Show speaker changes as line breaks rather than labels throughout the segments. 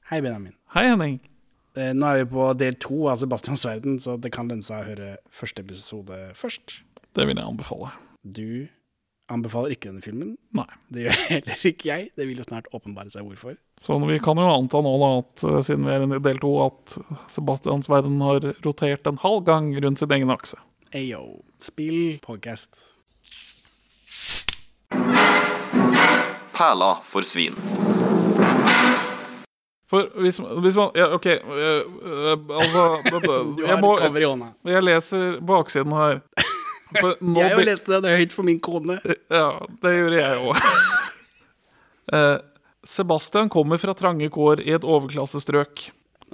Hei, Benjamin.
Hei, Henning.
Eh, Nå er vi på del to av Sebastians verden, så det kan lønne seg å høre første episode først.
Det vil jeg anbefale.
Du anbefaler ikke denne filmen.
Nei.
Det gjør heller ikke jeg. Det vil jo snart åpenbare seg hvorfor.
Så vi kan jo anta nå da at eh, siden vi er inne i del to, at Sebastians verden har rotert en halv gang rundt sin egen akse.
Ayo, spill podcast.
Perla for svin.
For hvis, hvis man Ja, OK. eh, eh, altså
Du
dette-
har
jeg, må,
cover i hånda.
jeg leser baksiden her. For nå
Jeg har jo
blir-
lest den høyt for min kone.
Ja, det gjorde jeg òg. Eh, Sebastian kommer fra trange kår i et overklassestrøk.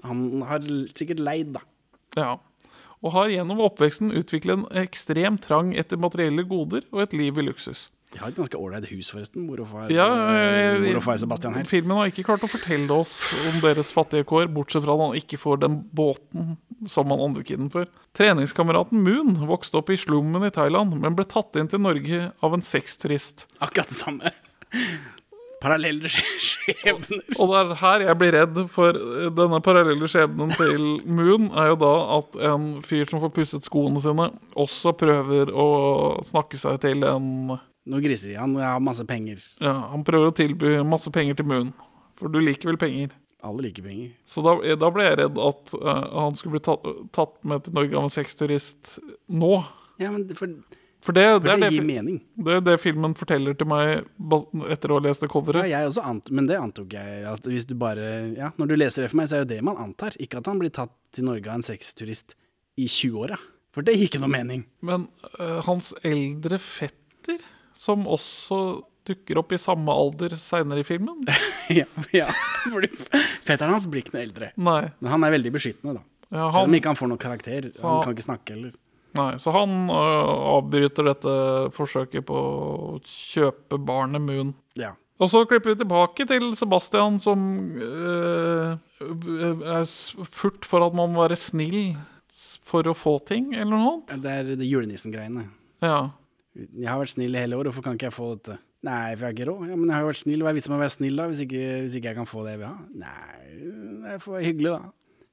Han har l- sikkert leid, da.
Ja. Og har gjennom oppveksten utviklet en ekstrem trang etter materielle goder og et liv i luksus.
De har et ganske ålreit hus, forresten. Mor og far,
Ja,
eh,
jeg-
mor og far Sebastian her.
Filmen har ikke klart å fortelle oss om deres fattige kår, bortsett fra at han ikke får den båten som han andre kiden for. Treningskameraten Moon vokste opp i slummen i Thailand, men ble tatt inn til Norge av en sexturist.
Akkurat det samme. Parallelle skje- skjebner.
Og det er her jeg blir redd, for eh, denne parallelle skjebnen til Moon er jo da at en fyr som får pusset skoene sine, også prøver å snakke seg til en
Nå griser de. Han har masse penger.
Ja, han prøver å tilby masse penger til Moon, for du liker vel penger?
Alle liker penger.
Så da, eh, da ble jeg redd at eh, han skulle bli tatt, tatt med til Norge av en sexturist nå.
Ja, men det- for, for
For det, det, er
det
det,
gir
fi-
mening.
det er det filmen forteller til meg bas- etter å ha lest det
Ja,
coveret.
jeg også ant men det antok jeg. At hvis du bare, ja, når du leser det for meg, så er jo det man antar. Ikke at han blir tatt til Norge av en sexturist i 20-åra. For det gir ikke noe mening.
Men eh, hans eldre fetter, som også dukker opp i samme alder seinere i filmen
ja, ja, fordi fetteren hans blir ikke noe eldre.
Nei.
Men han er veldig beskyttende, da.
Ja,
Selv om
han,
ikke han får noen karakter. Han
han-
kan ikke snakke heller.
nei. Så han eh, avbryter dette forsøket på å kjøpe barnet Moon.
Ja.
Og så klipper vi tilbake til Sebastian som eh, er s- furt for at man må være snill s- for å få ting, eller noe annet.
Det er det julenissen-greiene.
Ja.
Jeg har vært snill i hele år, hvorfor kan ikke jeg få dette? Nei, for jeg har ikke råd. Ja, men jeg har jo vært snill. Hva er vitsen med å være snill da, hvis ikke, hvis ikke jeg kan få det jeg vil ha? Nei, jeg får være hyggelig da,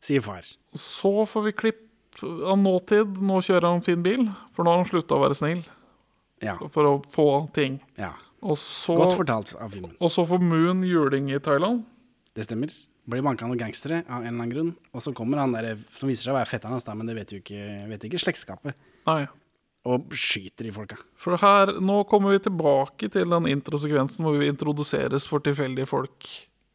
sier far.
Så får vi klipp av nåtid. Nå kjører han fin bil, for nå har han slutta å være snill
Ja,
for å få ting.
ja.
Og så,
Godt fortalt av filmen.
og så får Moon juling i Thailand.
Det stemmer. Blir banka av noen gangstere av en eller annen grunn. Og så kommer han der, som viser seg å være fetteren hans, da, men det vet jo ikke, vet ikke slektskapet.
Nei.
Og skyter i folka.
For her, nå kommer vi tilbake til den introsekvensen hvor vi introduseres for tilfeldige folk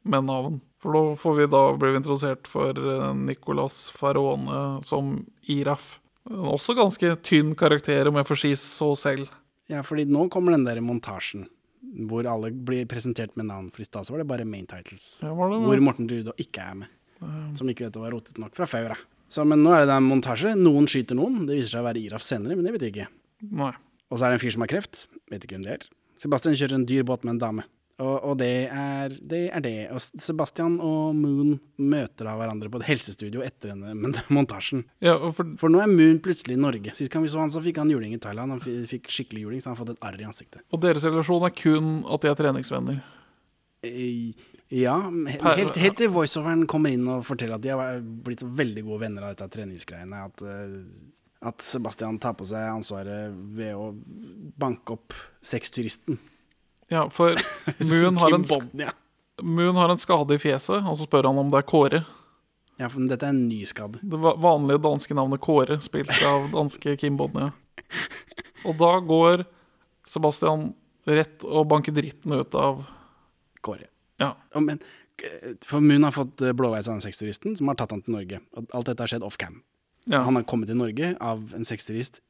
med navn. For da får vi da bli introdusert for eh, Nicolas Farone som Iraf. En Også ganske tynn karakter, om jeg får si så selv.
Ja, fordi nå kommer den der montasjen, hvor alle blir presentert med navn. For i stad så var det bare main titles.
Ja, var det,
Hvor Morten Drudå ikke er med. Som ikke dette var rotet nok fra før av. Så, men nå er det en montasje. Noen skyter noen. Det viser seg å være Iraf senere, men det vet jeg ikke.
Nei.
Og så er det en fyr som har kreft. Vet ikke hvem det er. Sebastian kjører en dyr båt med en dame. Og, og det, er, det er det. Og S- Sebastian og Moon møter da hverandre på et helsestudio etter denne men- montasjen.
Ja, og for,
For nå er Moon plutselig i Norge. Sist gang vi så han, så fikk han juling i Thailand. Han fi- fikk skikkelig juling, så han har fått et arr i ansiktet.
og deres relasjon er kun at de er treningsvenner.
Eh, Ja, men he-
Per-
helt, helt til voiceoveren kommer inn og forteller at de har blitt så veldig gode venner av dette treningsgreiene. At, eh, at Sebastian tar på seg ansvaret ved å banke opp sexturisten.
Ja, for Moon har, en, sk-
Bobnia.
Moon har en skade i fjeset, og så spør han om det er Kåre.
Ja, for dette er en ny skade.
Det va- vanlige danske navnet Kåre, spilt av danske Kim Bodnia. Og da går Sebastian rett og banker dritten ut av
Kåre.
Ja.
Og men, eh, for Moon har fått eh, blåveis av den sexturisten, som har tatt han til Norge. Og alt dette har skjedd off cam.
ja.
Han har kommet til Norge av en sexturist.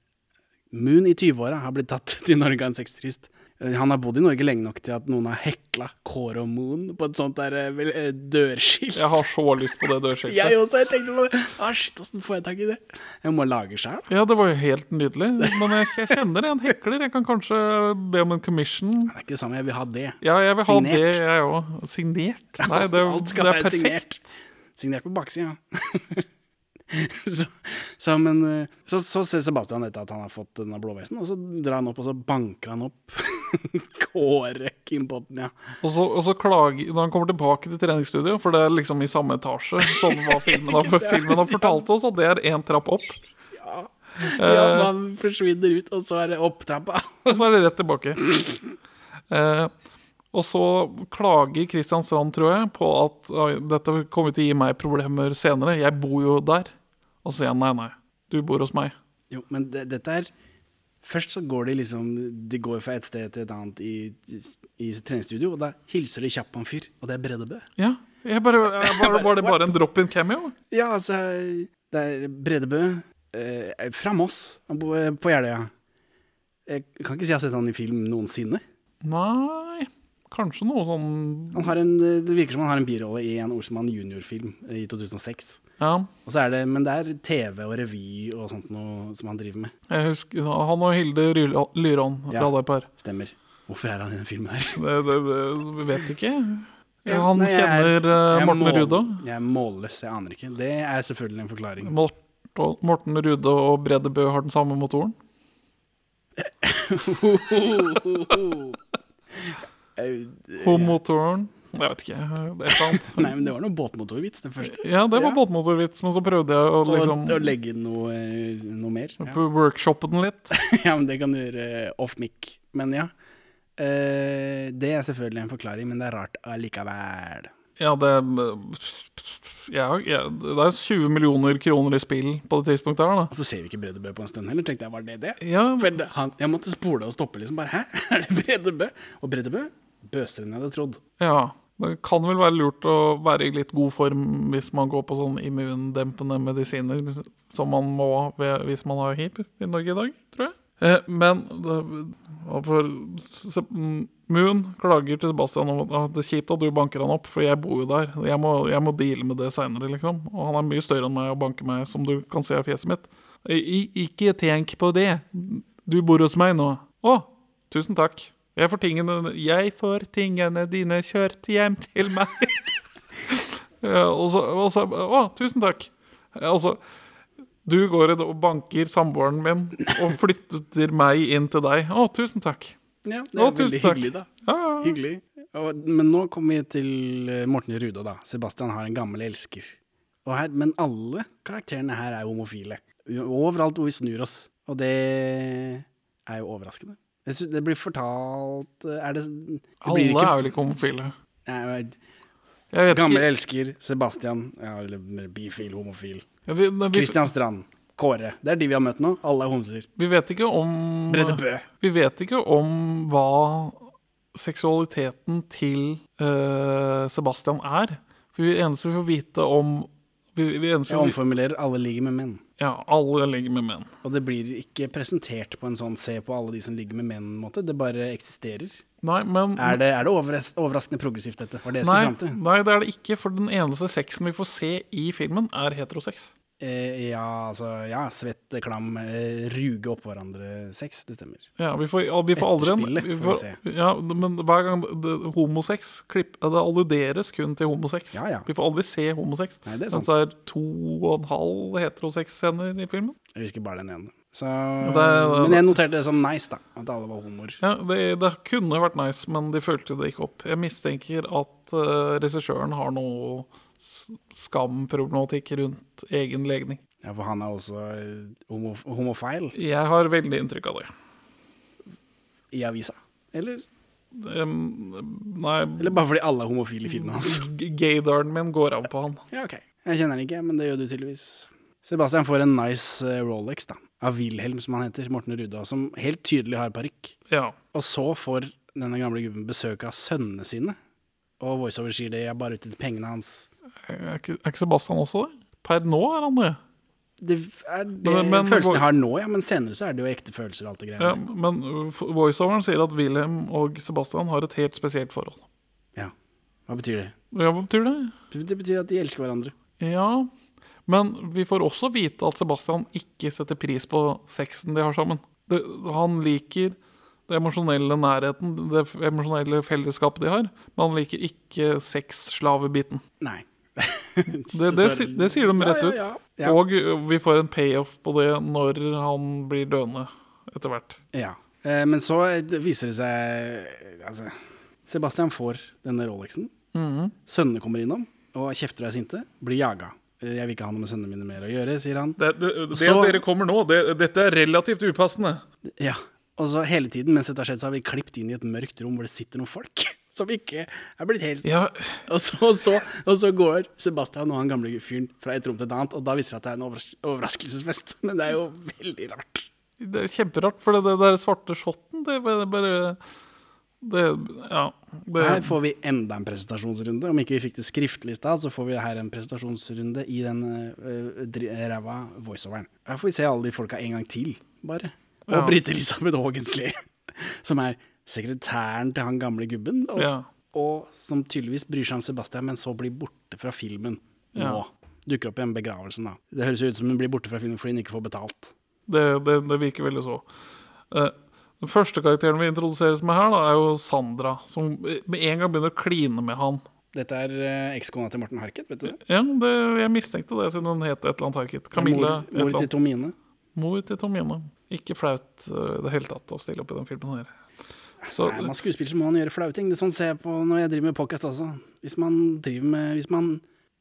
Moon i 20-åra har blitt tatt til Norge av en sexturist. Eh, Han har bodd i Norge lenge nok til at noen har hekla Kåre og Moon på et sånt der eh, vel, eh, dørskilt.
Jeg har så lyst på det
Jeg
dørskiltet.
også, jeg tenkte på det. Ah, shit, åssen får jeg tak i det? Jeg må lage sjæl.
Ja, det var jo helt nydelig. Men jeg, jeg kjenner en hekler. Jeg kan kanskje be om en commission.
Det er ikke det samme, jeg vil ha det.
Ja, jeg vil ha
Signert.
det, jeg òg. Signert? Nei, det,
Alt
det
skal
er
være
perfekt.
signert. Signert på baksida. så, så, men, eh, så, så ser Sebastian etter at han har fått denne blåvesten, og så drar han opp og så banker han opp Kåre Kim Bodnia.
Og så, og så klager, når han kommer tilbake til treningsstudio, for det er liksom i samme etasje Sånn var filmen har, filmen har fortalt oss, at det er én trapp opp.
Ja,
Eh.
han forsvinner ut, og så er det opp trappa.
Og så er det rett tilbake. Eh, og så klager Kristian Strand, tror jeg, på at «Oi, dette kommer til å gi meg problemer senere. Jeg bor jo der. Og så sier han nei, nei. Du bor hos meg.
Jo, men det, dette er Først så går de liksom De går fra et sted til et annet i, i, i treningsstudio, og da hilser de kjapt på en fyr, og det er Bredebø.
Ja, jeg bare, jeg bare, Var det bare en drop-in cameo?
Ja, altså Det er Bredebø eh, fra Moss, han bor eh, på Jeløya. Jeg kan ikke si jeg har sett han i film noensinne.
Nei Kanskje noe sånn
Han har en, eh, det virker som han har en birolle i en Olsemann junior-film eh, i 2006.
Ja.
Og så er det, men det er TV og revy og sånt noe som han driver med.
Jeg husker, han og Hilde Ryl- Lyrån
Ja.
radarpar.
Stemmer. Hvorfor er han i den filmen her?
Det, det, det vet ikke.
Ja,
han
nei, jeg er-
kjenner eh,
Jeg
Morten
mål-
Rude.
Jeg er målløs, jeg aner ikke. Det er selvfølgelig en forklaring.
Morten, Morten Rude og Brede Bø har den samme motoren.
Eh,
Homotoren. Jeg vet ikke. Det er sant.
Nei, men det var noe båtmotorvits, den første.
Ja, det var
Ja.
båtmotorvits, men så prøvde jeg å
Og,
liksom
og legge inn noe, eh, noe mer. Ja.
workshoppe den litt.
ja, men det kan du gjøre off mic. Men ja. Eh, det er selvfølgelig en forklaring, men det er rart allikevel.
Ja, det ja, ja, Det er 20 millioner kroner i spill på det tidspunktet her, da.
Og så ser vi ikke Bredebø på en stund heller, tenkte jeg. Var det det?
Ja,
For det- han, jeg måtte spole og stoppe, liksom. Bare hæ, er det Bredebø? Og Bredebø bøser enn jeg hadde trodd.
ja. Det kan vel være lurt å være i litt god form hvis man går på sånn immundempende medisiner, som man må ved, hvis man har hiv i Norge i dag, tror jeg. Eh, Men det- og for s- s- Moon klager til Sebastian om at «Ah, det er kjipt at du banker han opp, for jeg bor jo der. Jeg må, jeg må deale med det seinere, liksom. Og han er mye større enn meg og banker meg, som du kan se av fjeset mitt. «I- i- Ikke tenk på det. Du bor hos meg nå. Å, tusen takk. Jeg får tingene, jeg får tingene dine kjørt hjem til meg. Ja, og, så, og så Å, tusen takk. Ja, Altså du går og banker samboeren min og flytter meg inn til deg. Å, tusen takk.
Ja, det er
Å,
veldig
tusen takk.
hyggelig, da.
Ja, ja, ja.
Hyggelig. Og, men nå kommer vi til eh, Morten Rude, da. Sebastian har en gammel elsker. Og her, men alle karakterene her er homofile. U- Overalt hvor vi snur oss. Og det er jo overraskende. Jeg synes det blir fortalt eh, Er det, det blir
Alle
ikke,
er vel ikke homofile?
Nei,
Jeg vet
Gammel
ikke.
elsker, Sebastian, ja, eller bifil, homofil.
Ja, Vi, nei, vi,
Christian Strand, Kåre. Det er de vi har møtt nå. Alle er homser.
vi vet ikke om
Brede Bø.
Vi vet ikke om hva seksualiteten til eh, Sebastian er. For vi eneste vi får vite om vi, vi eneste
Jeg
vi,
omformulerer 'alle ligger med menn'.
Ja, alle ligger med menn.
Og det blir ikke presentert på en sånn 'se på alle de som ligger med menn'-måte. Det bare eksisterer.
Nei, men
Er det, er det overras overraskende progressivt, dette? Var det jeg
nei,
skulle fram til?
nei, det er det ikke. For den eneste sexen vi får se i filmen, er heterosex.
Eh, ja, altså Ja, svett, klam, eh, ruge oppå hverandre, sex. Det stemmer.
Ja, vi får, ja, vi får aldri en
Etterspillet
vi
får vi
får, ja, Men hver gang det, det, homosex klipp, Det alluderes kun til homosex.
Ja, ja.
Vi får aldri se homosex.
Nei, det er sant.
Men så er det to og en halv heterosex-scener i filmen.
Jeg husker bare den ene. Så,
Altså- det er-
men jeg noterte det som nice, da. At alle var homoer.
Ja, det, det kunne vært nice, men de følte det ikke opp. Jeg mistenker at eh, regissøren har noe s- skamproblematikk rundt egen legning.
Ja, for han er også eh, homo homofil
Jeg har veldig inntrykk av det.
i avisa. Eller,
Em, nei,
eller bare fordi alle er homofile i
Mm.
filmen hans.
g- gaydaren min går av på han.
Ja, ok. Jeg kjenner den ikke, men det gjør du tydeligvis. Sebastian får en nice eh, Rolex da, av Wilhelm, som han heter, Morten Ruda, som helt tydelig har parykk.
Ja.
Og så får denne gamle gubben besøk av sønnene sine, og voiceover sier det, jeg er bare ute etter pengene hans.
Er ikke, er ikke Sebastian også det? Per nå er han det.
Det er det
Men- men-
følelsen jeg har nå, ja, men senere så er det jo ekte følelser og alt det
Ja,
greiene.
men uh, f- voiceoveren sier at Wilhelm og Sebastian har et helt spesielt forhold.
Ja. Hva betyr det?
Ja, hva betyr det?
Det betyr at de elsker hverandre.
Ja, men vi får også vite at Sebastian ikke setter pris på sexen de har sammen. Det, han liker det emosjonelle nærheten, det f- emosjonelle fellesskapet de har, men han liker ikke sexslavebiten.
Nei.
Det, det, si- det sier de rett ut.
Ja, ja, ja.
Og vi får en payoff på det når han blir døende etter hvert.
Ja. Eh, men så viser det seg altså, Sebastian får denne Rolexen. Sønnene kommer innom og kjefter og er sinte. Blir jaga. Eh, 'Jeg vil ikke ha noe med sønnene mine mer å gjøre', sier han.
Det, det, det
Så-
at dere kommer nå, det, dette er relativt upassende.
Ja. Og så hele tiden mens dette har skjedd, så har vi klippet inn i et mørkt rom hvor det sitter noen folk. Som ikke er blitt helt
Ja,
og så, og, så, og så går Sebastian og han gamle fyren fra et rom til et annet, og da viser det at det er en overras overraskelsesfest. Men det er jo veldig rart.
det er kjemperart, for det, det der svarte shotten, det bare, bare det, Ja. Det,
Her får vi enda en presentasjonsrunde. Om ikke vi fikk det skriftlig i stad, så får vi her en presentasjonsrunde i den øh, dri- ræva voiceoveren. Her får vi se alle de folka en gang til, bare. Og
Ja.
Britt Elisabeth Haagensli, som er sekretæren til han gamle gubben, og,
Ja.
og som tydeligvis bryr seg om Sebastian, men så blir borte fra filmen nå.
Ja.
Dukker opp i den begravelsen, da. Det høres jo ut som hun blir borte fra filmen fordi hun ikke får betalt.
det, det, det virker veldig så. Eh, Den første karakteren vi introduseres med her, da, er jo Sandra, som med en gang begynner å kline med han.
Dette er eh, ekskona til Morten Harket, vet du det?
Ja, det, jeg mistenkte det, siden hun het et eller annet harket. Camilla
Mor,
et eller
mor
annet.
til Tomine.
Mor til Tomine. Ikke flaut uh, i det hele tatt å stille opp i den filmen her. Så,
Nei, man skuespiller så må man gjøre flaue ting. Det er sånn ser jeg på når jeg driver med podcast også. Hvis man driver med Hvis man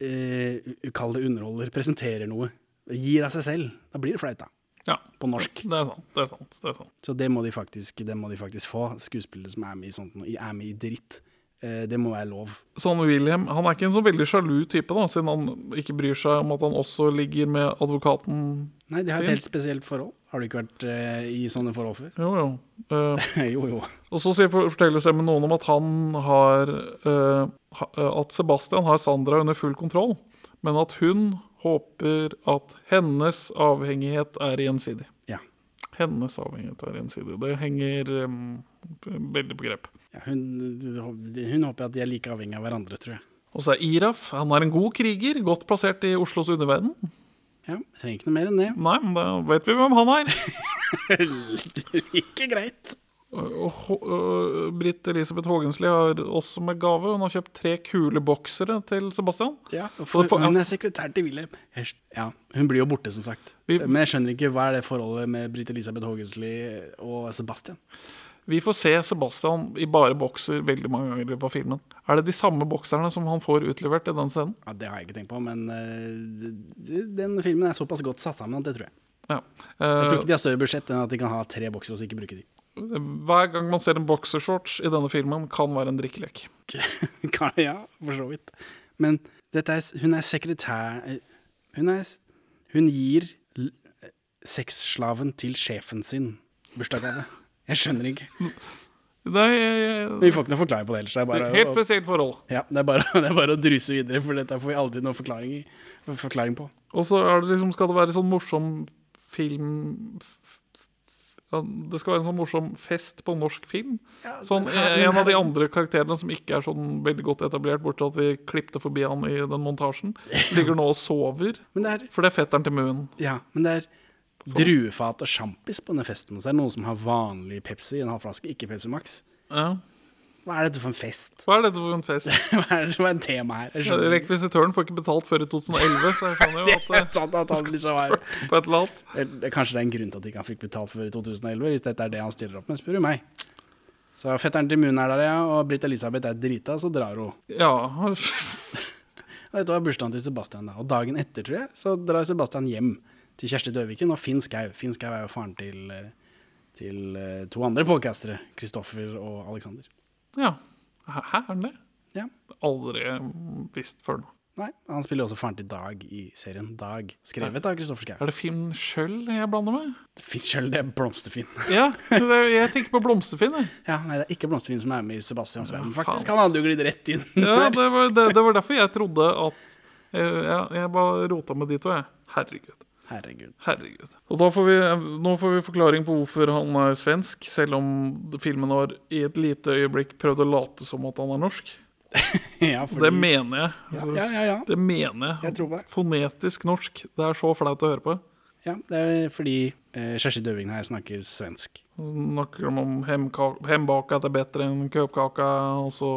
eh, u- kall det underholder, presenterer noe, gir av seg selv, da blir det flaut, da.
ja,
På norsk.
det er sant. Det er sant, det er sant.
Så det må de faktisk, det må de faktisk få. Skuespillere som er med i sånt noe, er med i dritt. Eh, det må være lov.
Sånn William han er ikke en så veldig sjalu type, da, siden han ikke bryr seg om at han også ligger med advokaten.
Nei, de har et
Fint.
helt spesielt forhold. Har du ikke vært eh, i sånne forhold før?
Jo, jo. Eh,
jo, jo.
og så sier- forteller seg med noen om at han har eh, ha, At Sebastian har Sandra under full kontroll, men at hun håper at hennes avhengighet er gjensidig.
Ja.
Hennes avhengighet er gjensidig. Det henger eh, veldig på grep.
ja hun, hun håper at de er like avhengig av hverandre, tror jeg.
Og så er Iraf han er en god kriger, godt plassert i Oslos underverden.
Ja, Trenger ikke noe mer enn det.
Nei, men da vet vi hvem han er.
ikke greit.
Og H- øh, Britt Elisabeth Haagensli har også med gave. Hun har kjøpt tre kule boksere til Sebastian.
Ja, for,
for-
hun er sekretær til Wilhelm. Hers- Ja, hun blir jo borte, som sagt.
Vi-
Men jeg skjønner ikke hva er det forholdet med Britt Elisabeth Haagensli og Sebastian.
Vi får se Sebastian i bare bokser veldig mange ganger i løpet av filmen. Er det de samme bokserne som han får utlevert i den scenen?
Ja, Det har jeg ikke tenkt på, men eh, d- d- den filmen er såpass godt satt sammen at det tror jeg.
Ja.
Jeg
Eh,
tror ikke de har større budsjett enn at de kan ha tre bokser og så ikke bruke de.
hver gang man ser en boksershorts i denne filmen, kan være en drikkelek.
Kan- ja, for så vidt. Men dette er, s- hun er sekretær eh, Hun, er, s- hun gir l- eh, sexslaven til sjefen sin bursdagsgave. Jeg skjønner ikke.
Nei, jeg-
Vi
jeg-
får ikke noe forklaring på det ellers. Det er
det er
bare
et eh, helt
å-
spesielt forhold.
Ja, det er, bare, det er bare å druse videre, for dette får vi aldri noen forklaring, i, forklaring på.
Og så er det liksom, skal det være sånn morsom film f- f- ja, Det skal være en sånn morsom fest på norsk film. Sånn,
men her-
eh, En
men
av de
her-
andre karakterene som ikke er sånn veldig godt etablert, bortsett at vi klipte forbi han i den montasjen, ligger nå og sover.
Men det er,
For det er fetteren til Moon.
ja, men det er druefat og sjampis på denne festen, og så er det noen som har vanlig Pepsi i en halvflaske, ikke Pepsi Max.
Ja.
Hva er dette for en fest?
Hva er dette for en fest?
Hva er, hva er temaet her? Jeg skjønner ikke.
Rekvisitøren får ikke betalt før i 2011, så jeg skjønner jo
Det er
at det
sant at han liksom er
på et eller annet.
Eller, Kanskje det er en grunn til at ikke han fikk betalt før i 2011, hvis dette er det han stiller opp med, spør du meg. Så fetteren til Moon er der, ja, og Britt Elisabeth er drita, så drar hun.
Ja.
Og Dette var bursdagen til Sebastian, da. Og dagen etter, tror jeg, så drar Sebastian hjem til Kjersti Døviken og Finn Skau. Finn Skau er jo faren til, eh, til eh, to andre podcastere, Kristoffer og Alexander.
ja. Hæ, er den det?
Ja.
Aldri visst før nå.
Nei, han spiller jo også faren til Dag i serien Dag, skrevet av Kristoffer Skau.
Er det Finn Schjøll jeg blander med?
Finn sjøl, det er Blomsterfinn.
Ja, det er, jeg tenker på blomsterfinn. jeg.
Ja, nei, det er ikke Blomsterfinn som er med i Sebastians verden,
Ja,
faktisk.
faen.
Han hadde jo glidd rett inn.
Ja, det var, det, det var derfor jeg trodde at eh, ja, Jeg bare rota med de to, jeg. Herregud.
Herregud.
Herregud. Og da får vi, nå får vi forklaring på hvorfor han er svensk, selv om filmen har i et lite øyeblikk prøvd å late som at han er norsk.
Ja,
Og
fordi,
Det mener jeg.
Ja, ja, ja, ja.
Det mener jeg.
Jeg tror på det.
Fonetisk norsk. Det er så flaut å høre på.
ja, det er fordi eh, Kjersti Døviken her snakker svensk.
Og så Snakker de om hemka- hembaka er bedre enn køpkaka, og så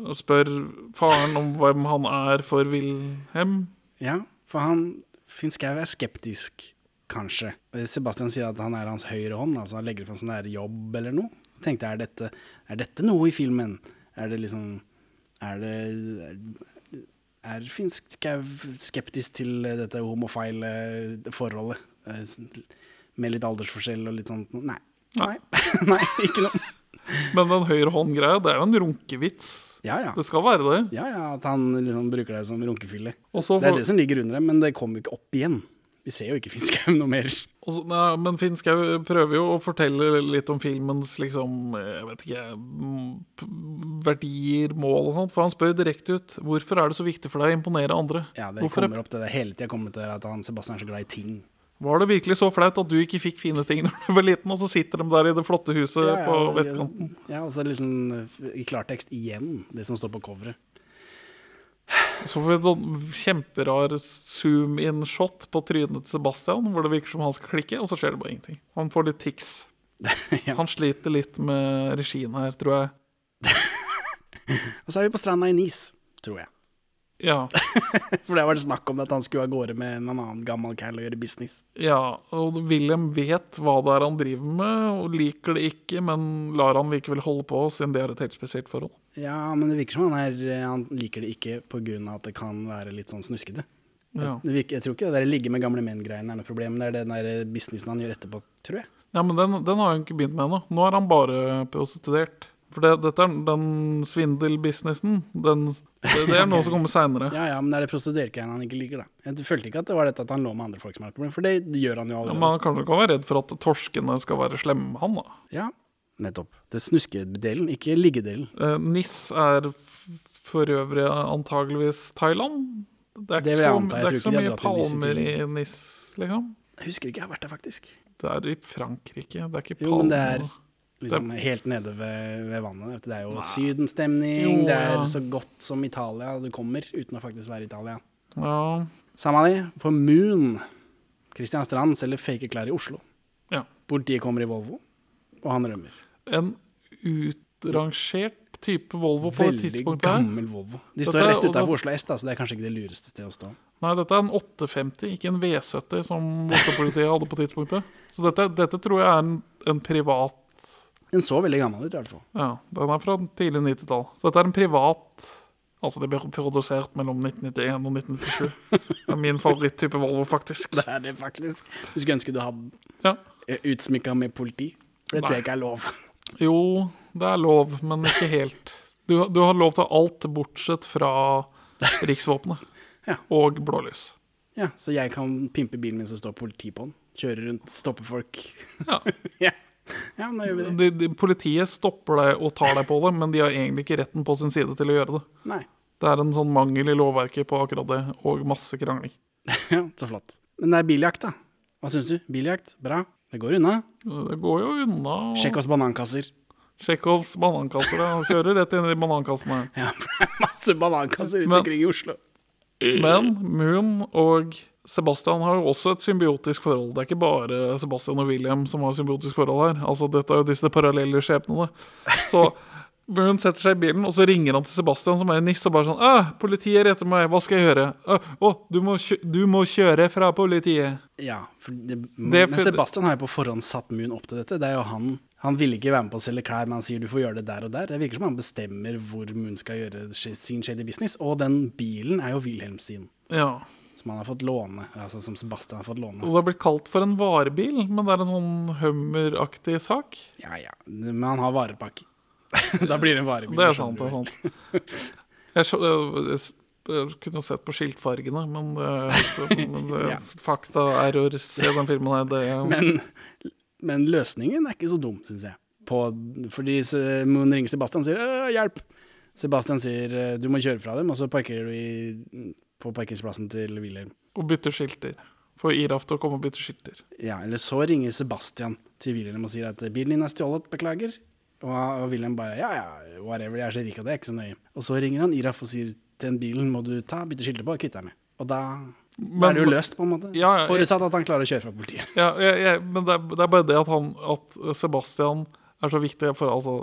og spør faren om hvem han er for Wilhelm.
Ja, for han Finn Skau er skeptisk, kanskje. Sebastian sier at han er hans høyre hånd, altså han legger fram sånn der jobb eller noe. Jeg tenkte, er dette, er dette noe i filmen? Er det liksom Er det Er, er Finn Skau skeptisk til dette homofile forholdet? Eh, Med litt aldersforskjell og litt sånt? Nei. Nei, Nei ikke noe.
Men den høyre hånd-greia, det er jo en runkevits.
Ja ja.
Det skal være det.
Ja, ja, At han liksom bruker deg som runkefille.
Og så
Det er
får-
det som ligger under det, men det kommer jo ikke opp igjen. Vi ser jo ikke Finnskaum noe mer.
Og så- Nei, men Finn Skau prøver jo å fortelle litt om filmens liksom, jeg vet ikke, m- p- verdier, mål og sånt. For han spør direkte ut hvorfor er det så viktig for deg å imponere andre.
Ja, det
Hvorfor
kommer opp til det hele tida kommer til at han Sebastian er så glad i ting.
Var det virkelig så flaut at du ikke fikk fine ting når du var liten, og så sitter de der i det flotte huset på vestkanten?
Ja, og så er det liksom i klartekst igjen, det som står på coveret.
Så får vi et sånn kjemperar zoom-in-shot på trynet til Sebastian, hvor det virker som han skal klikke, og så skjer det bare ingenting. Han får litt tics.
ja.
Han sliter litt med regien her, tror jeg.
Og så er vi på stranda i Nis, tror jeg.
Ja.
For det har vært snakk om at han skulle av gårde med en annen gammel cal og gjøre business.
Ja, og William vet hva det er han driver med, og liker det ikke, men lar han likevel holde på, siden det er et helt spesielt forhold.
Ja, men det virker som han, er, eh, han liker det ikke pga. at det kan være litt sånn snuskete.
Ja.
Det virker, jeg tror ikke det der ligge med gamle menn-greien er noe problem. Det er den der businessen han gjør etterpå, tror jeg.
ja, men den, den har han ikke begynt med ennå. Nå er han bare prostituert. For det, dette er den svindelbusinessen. Den, det, det er noe som kommer seinere.
Ja ja, men det er det prostituertgreiene han ikke liker, da. Jeg følte ikke at det var dette at han lå med andre folk som er et problem, for det gjør han jo
Ja,
allerede.
men han kanskje kan være redd for at torskene skal være slemme med han, da.
Ja, nettopp. Det er snuskedelen, ikke liggedelen.
Eh, NIS er f- for øvrig antageligvis Thailand. Det er
Det
ikke
vil jeg
så,
anta.
det
Jeg
er
tror
ikke så
ikke de
mye
har dratt til
palmer i
NIS
NIS, liksom.
Jeg husker ikke jeg har vært der, faktisk.
Det er i Frankrike. Det er ikke
Jo, men det er
Palme.
liksom helt nede ved, ved vannet. vet du. Det er jo sydenstemning,
Jo,
det er
ja.
så godt som Italia du kommer, uten å faktisk være i Italia.
Ja,
Samme av det, for Moon. Christian Strand selger fake klær i Oslo.
Ja.
Politiet kommer i Volvo, og han rømmer.
en utrangert type Volvo på det
Veldig
tidspunktet her.
gammel Volvo. De
Dette
står
er-
rett
og da-
utafor Oslo S, da, så det er kanskje ikke det lureste stedet å stå.
Nei, dette er en 850, ikke en V70 som Oslo-politiet hadde på tidspunktet. Så dette, dette tror jeg er en, en privat
Den så veldig gammel ut, i hvert fall.
Ja, den er fra tidlig 90-tall. Så dette er en privat Altså, det ble produsert mellom 1991 og 1997. Det er min favoritttype Volvo, faktisk.
Det er det faktisk. Du skulle ønske du hadde
Ja.
eh, utsmykka med politi. For det tror jeg ikke er lov.
Jo, det er lov, men ikke helt. Du, du har lov til alt bortsett fra riksvåpenet
Ja.
og blålys.
Ja, Så jeg kan pimpe bilen min som står politi på den. Kjøre rundt, stoppe folk.
Ja.
ja. ja, men da gjør vi det.
De, de, politiet stopper deg og tar deg på det, men de har egentlig ikke retten på sin side til å gjøre det.
Nei.
Det er en sånn mangel i lovverket på akkurat det, og masse krangling.
Ja, så flott. Men det er biljakt, da. Hva syns du? Biljakt? Bra. Det går unna.
Det går jo unna. og-
Sjekk oss banankasser.
Chekhovs banankasser. ja. Han kjører rett inn i de banankassene.
Ja, for det er masse banankasser rundt
Men-
omkring i Oslo.
Men Moon og Sebastian har jo også et symbiotisk forhold. Det er ikke bare Sebastian og William som har symbiotisk forhold her. Altså, Dette er jo disse parallelle skjebnene. Så Moon setter seg i bilen, og så ringer han til Sebastian, som er en nisse, og bare sånn «Æ, 'Politiet er etter meg. Hva skal jeg gjøre?' «Æ, 'Å, du, må kjø du må kjøre fra politiet.'
Ja, for det,
Det er
Men
for-
Sebastian har jo på forhånd satt Moon opp til dette. Det er jo han Han ville ikke være med på å selge klær, men han sier du får gjøre det der og der. Det virker som han bestemmer hvor Moon skal gjøre sh- sin shady business. Og den bilen er jo Wilhelm sin,
Ja.
som han har fått låne. Altså som Sebastian har fått
Og
låne.
det har blitt kalt for en varebil, men det er en sånn Hummer-aktig sak.
Ja ja, men han har varepakke. da blir det en varebil.
Det er
skjønner
sant. det
du
er
vel.
sant. Jeg, skjø- øh, jeg, s- jeg kunne jo sett på skiltfargene, men, øh, men det-
Ja.
fakta error i den filmen her, det er
Men, men løsningen er ikke så dum, syns jeg. På, fordi se- Moon ringer Sebastian og sier «Øh, 'hjelp'. Sebastian sier «Øh, 'du må kjøre fra dem', og så parkerer du i, på parkeringsplassen til Wilhelm.
å bytte skilter. Få Iraf til å komme og bytte skilter.
Ja, eller så ringer Sebastian til Wilhelm og sier at bilen din er stjålet, beklager. Og, og Wilhelm bare ja, ja, whatever, jeg er så rik at det er ikke så nøye. Og så ringer han Iraf og sier den bilen må du ta, bytte skilter på og kvitte deg med. Og da
Men-
er det jo løst, på en måte.
Ja, ja,
Forutsatt at han klarer å kjøre fra politiet.
Ja, jeg, jeg, men det er, det er bare det at, han, at Sebastian er så viktig for altså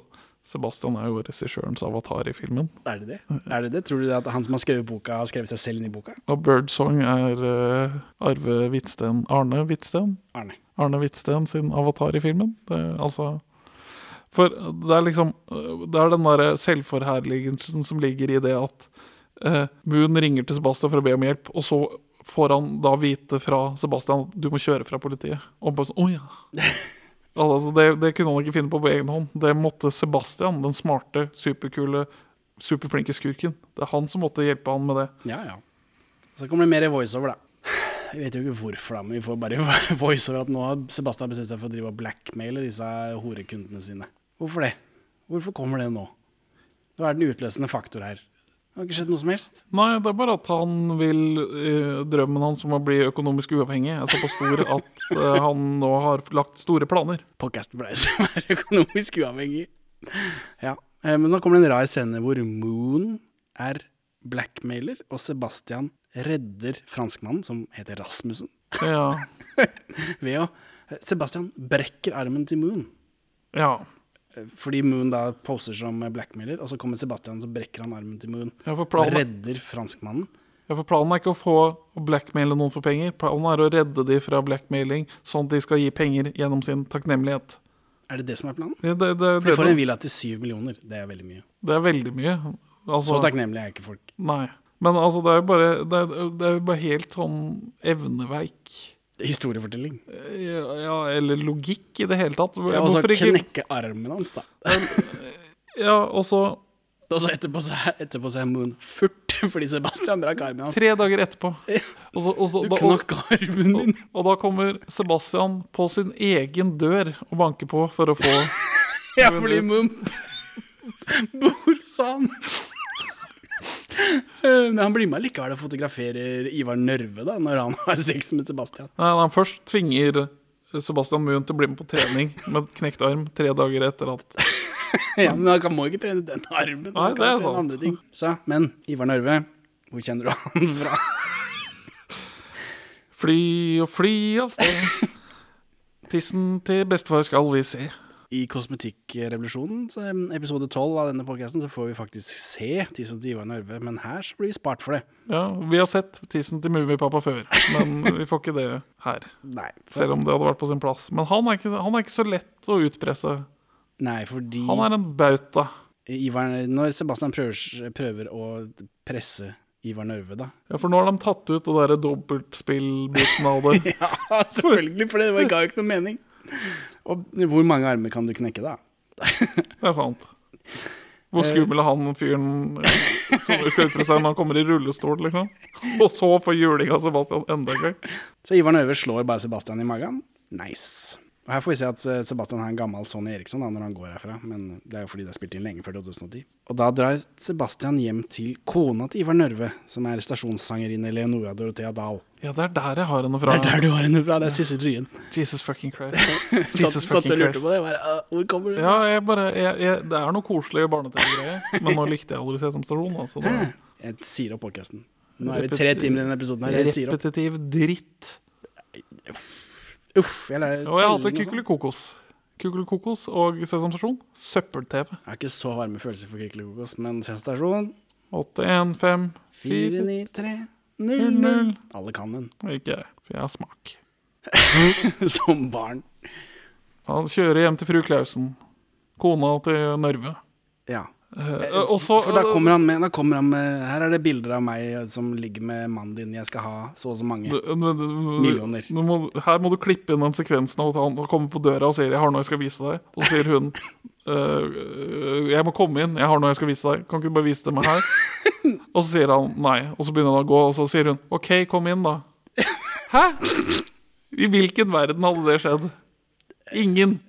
Sebastian er jo regissørens avatar i filmen.
Er det det? Er det det? Tror du at han som har skrevet boka, har skrevet seg selv inn i boka?
Og Birdsong er eh, Arve Hvitsten Arne Hvitsten
Arne.
Arne Hvitsten sin avatar i filmen. Det, er altså For det er liksom eh, Det er den derre selvforherligelsen som ligger i det at eh, Moon ringer til Sebastian for å be om hjelp, og så får han da vite fra Sebastian at du må kjøre fra politiet. Og bare sånn Å ja. Altså, det, det kunne han ikke finne på på egen hånd. Det måtte Sebastian, den smarte, superkule, superflinke skurken. Det er han som måtte hjelpe han med det.
Ja, ja. Så kommer det mer voiceover, da. Jeg vet jo ikke hvorfor, da, men vi får bare voiceover at nå har Sebastian bestemt seg for å drive og blackmaile disse horekundene sine. Hvorfor det? Hvorfor kommer det nå? Hva er den utløsende faktor her? Det har ikke skjedd noe som helst.
Nei, det er bare at han vil eh, Drømmen hans om å bli økonomisk uavhengig er såpass stor at eh, han nå har lagt store planer.
Podcast for deg som er økonomisk uavhengig. Ja, eh, men nå kommer det en rar scene hvor Moon er blackmailer, og Sebastian redder franskmannen, som heter Rasmussen,
Ja.
ved å eh, Sebastian brekker armen til Moon.
ja.
Eh, Fordi Moon da poser som blackmailer, og så kommer Sebastian så brekker han armen til Moon.
Ja, for
Og
planen,
redder franskmannen.
ja, for planen er ikke å få å blackmaile noen for penger. Planen er å redde de fra blackmailing, sånn at de skal gi penger gjennom sin takknemlighet.
Er det det som er planen?
Det, det, det,
Du
det,
får en villa til syv millioner. Det er veldig mye.
det er veldig mye.
Så
Altså,
takknemlig er ikke folk.
nei. Men altså, det er jo bare, det er, det er jo bare helt sånn evneveik
Historiefortelling.
eh, ja, eller logikk i det hele tatt.
Og så
Hvorfor ikke
knekke armen hans, da.
Ja, og så
Og så etterpå så er, etterpå så er Moon furt fordi Sebastian brakk armen hans.
Tre dager etterpå. Og, så, og, så,
Du
da, og,
knakk armen din!
og da kommer Sebastian på sin egen dør og banker på for å få
Ja, fordi Moon bor sånn. Eh, Men han blir med likevel og fotograferer Ivar Nørve da, når han har sex med Sebastian.
Nei, han først tvinger Sebastian Moon til å bli med på trening med knekt arm tre dager etter at
Ja, Men han kan- må ikke trene den armen. han
Nei,
kan
det er
trene
sant.
Andre ting. Så, men Ivar Nørve, hvor kjenner du han fra?
Fly og fly av sted. Tissen til bestefar skal vi se.
I Kosmetikkrevolusjonen, så, em, episode 12 av denne podcasten, så får vi faktisk se tissen til Ivar Nørve, men her så blir vi spart for det.
Ja, Vi har sett tissen til Mummipappa før, men vi får ikke det her.
Nei, for,
Selv om det hadde vært på sin plass. Men han er ikke, han er ikke så lett å utpresse.
nei fordi
Han er en bauta.
Ivar, når Sebastian prøver, prøver å presse Ivar Nørve, da
Ja, for nå har de tatt ut det derre dobbeltspillbiten av det.
Ja, selvfølgelig, for det var- ga jo ikke noe mening. Og hvor mange armer kan du knekke, da?
Det er sant. Hvor skummel er han fyren eh, som skal utpresse seg når han kommer i rullestol, liksom? Og så får juling av Sebastian enda en gang.
Så Ivar Nørve slår bare Sebastian i magen. Nice. Og Her får vi se at eh, Sebastian har en gammel Sonny Eriksson da, når han går herfra, men det er jo fordi det er spilt inn lenge før 2010. Og da drar Sebastian hjem til kona til Ivar Nørve, som er stasjonssangerinne Leonora Dorothea Dahl.
Ja, det er der jeg har henne
Det
fra.
er der du har henne fra, det er Sissel Ryen.
Jesus fucking Christ.
Satt,
Jesus
satt og
fucking
lurte
Christ.
på det. Bare, «Åh, hvor kommer du?
Ja, jeg bare jeg, jeg, Det er noe koselig barne-TV-greier, men nå likte jeg aldri Sesam Stasjon, altså. Det er
Jeg sier opp podkasten. Nå er vi tre timer i denne episoden her. Jeg sier opp.
repetitiv dritt.
Uff, jeg lærer
Og
telling
jeg hater
og sånn.
Kukelikokos. Kukelikokos og Sesam Stasjon. Søppel-TV.
Jeg har ikke så varme følelser for Kykelikokos, men sensasjon
815
49300. Alle kan den,
Ikke jeg, for jeg har smak.
som barn.
Han kjører hjem til fru Klausen. Kona til Nørve.
Ja.
Eh, og så
For da kommer han med, da kommer han med Her er det bilder av meg eh, som ligger med mannen din, jeg skal ha så og så mange.
Du- du- du-
Millioner.
du må, her må du klippe inn den sekvensen av at han kommer på døra og sier 'Jeg har noe jeg skal vise deg'. Og så sier hun «Eh, 'Jeg må komme inn. Jeg har noe jeg skal vise deg. Kan ikke du bare vise det meg her?' Og så sier han nei. Og så begynner han å gå, og så sier hun 'OK, kom inn, da'. Hæ? I hvilken verden hadde det skjedd? Ingen.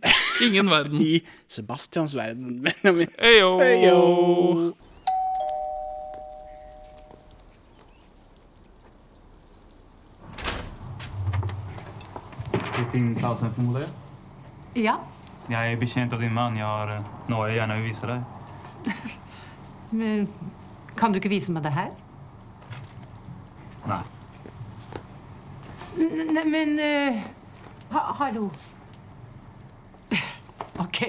Ingen verden.
I Sebastians verden, Benjamin.
Eyo.
Heyo.
Kristin Klausen, förmodar jag?
Ja,
Jag är betjänt av din man. Jag har eh, några jag gärna vill visa dig.
men kan du ikke vise meg det her?
Nej.
Nei, men eh, ha, Hallo. OK.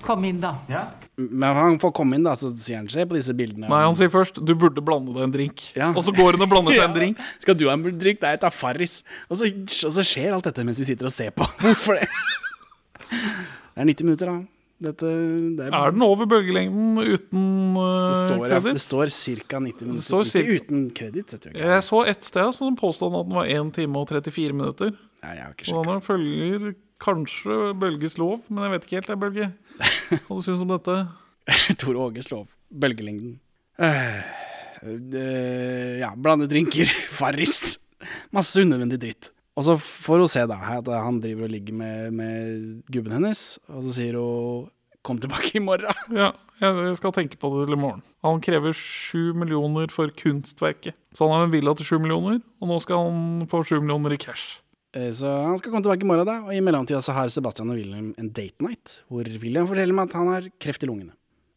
Kom inn, da.
Ja?
Men han får komme inn, da, så sier han se på disse bildene.
Nei, han sier først 'du burde blande deg en drink',
Ja.
og så går hun og blander seg en
Ja.
drink.
Skal du ha en drink? Nei, jeg tar Farris. Og så, og så skjer alt dette mens vi sitter og ser på. Hvorfor det? Det er 90 minutter, da. Dette det er,
Er den over bølgelengden uten
det
uh,
står, ja, det
kreditt?
står ca. 90 minutter.
står cirka-
Ikke uten kreditt, setter jeg ikke.
Jeg så et sted som påstod at den var 1 time og 34 minutter.
Nei, jeg har ikke
Og
sjekket.
den følger kanskje bølges lov, men jeg vet ikke helt, jeg, Bølge. Hva du syns om dette?
Tor Åge slår opp bølgelengden. Eh, eh, ja, blande drinker, Farris. Masse unødvendig dritt. Og så får hun se da at han driver og ligger med, med gubben hennes, og så sier hun 'kom tilbake i morgen'.
Ja, jeg skal tenke på det til i morgen. Han krever sju millioner for kunstverket. Så han har en villa til sju millioner, og nå skal han få sju millioner i cash.
Eh, Så han skal komme tilbake i morgen, da. Og i mellomtida så har Sebastian og William en date night, hvor William forteller meg at han har kreft i lungene.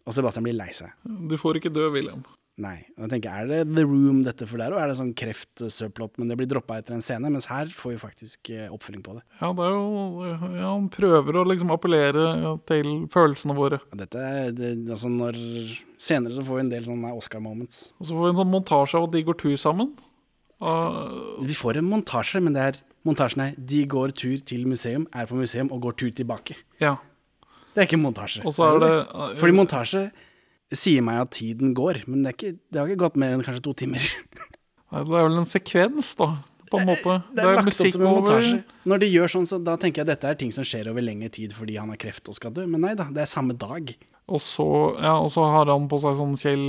Og Sebastian blir lei seg.
Du får ikke dø, William.
Nei. Og jeg tenker, er det The Room dette for der òg? Er det sånn kreftsubplot, men det blir droppa etter en scene? Mens her får vi faktisk eh, oppfølging på det.
Ja, det er jo, ja, han prøver å liksom appellere til følelsene våre.
Og Dette er det, altså når Senere så får vi en del sånne Oscar-moments.
Og så får vi en sånn montasje av at de går tur sammen. Og,
Vi får en montasje, men det er montasjen her. De går tur til museum, er på museum og går tur tilbake.
ja,
Det er ikke en montasje.
og så er det
Fordi montasje sier meg at tiden går, men det, er ikke, det har ikke gått mer enn kanskje to timer.
Nei, Det er vel en sekvens, da, på en måte.
Eh, Det er, lagt opp som en
over.
montasje. Når de gjør sånn, så da tenker jeg dette er ting som skjer over lengre tid fordi han har kreft og skal dø. Men nei da, det er samme dag.
Og så, ja, og så har han på seg sånn Kjell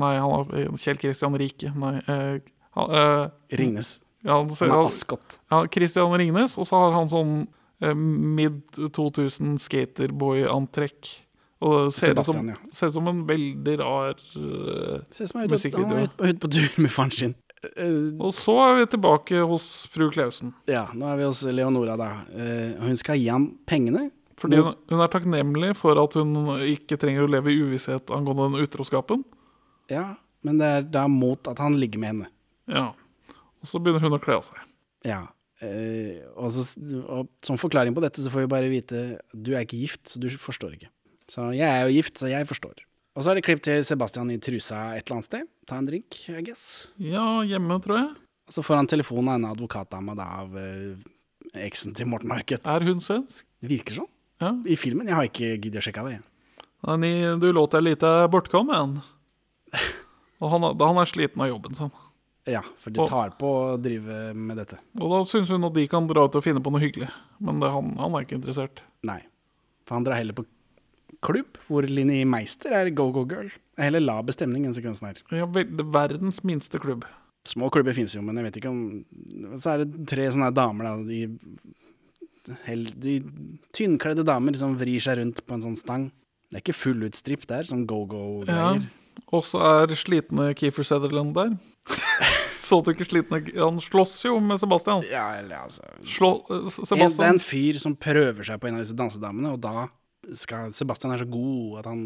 Nei, han har, eh, Kjell Kristian Rike. Nei. Eh, han, eh,
Ringnes.
ja, han ser,
Han er
han,
Askott.
ja, Kristian Ringnes, og så har han sånn eh, mid 2000 skaterboy-antrekk. Og det ser ut som,
Sebastian, ja.
ser ut som en veldig rar eh,
Ser ut som han er ute
Musikkvideo.
han er ute på, ute på tur med faren sin. Eh,
Og så er vi tilbake hos fru Klausen.
ja, nå er vi hos Leonora, da. Eh, hun skal gi ham pengene.
Fordi hun, hun er takknemlig for at hun ikke trenger å leve i uvisshet angående den utroskapen.
Ja, men det er da mot at han ligger med henne.
Ja. Og så begynner hun å kle av seg.
Ja. eh, og, så, og som forklaring på dette, så får vi bare vite du er ikke gift, så du forstår ikke. Så jeg er jo gift, så jeg forstår. Og så er det klipp til Sebastian i trusa et eller annet sted. Ta en drink, I guess.
Ja, hjemme, tror jeg.
Og så får han telefon av en advokatdame da, av eh, eksen til Morten Harket.
Er hun svensk?
Det virker sånn
Ja.
i filmen. Jeg har ikke giddet å sjekke det. jeg.
Nei, ni- du låter lite bortkommen. Og han, er- han er sliten av jobben sin.
Ja, for det
Og-
tar på å drive med dette.
Og da syns hun at de kan dra ut og finne på noe hyggelig. Men det, han, han er ikke interessert.
Nei. For han drar heller på klubb, hvor Linni Meister er go-go-girl. Det er Heller la bestemning enn sekvensen her.
Ja, vel, det er verdens minste klubb.
Små klubber finnes jo, men jeg vet ikke om Så er det tre sånne her damer, da. De, hel- de tynnkledde damer som vrir seg rundt på en sånn stang. Det er ikke fullutstripp, det er sånn
Ja.
go-go-greier.
Og så er slitne Keefer Sutherland der. Så du ikke slitne Han slåss jo med Sebastian.
Ja, eller altså
Slå, eh,
en, Det er
Sebastian
en fyr som prøver seg på en av disse dansedamene, og da skal Sebastian er så god at han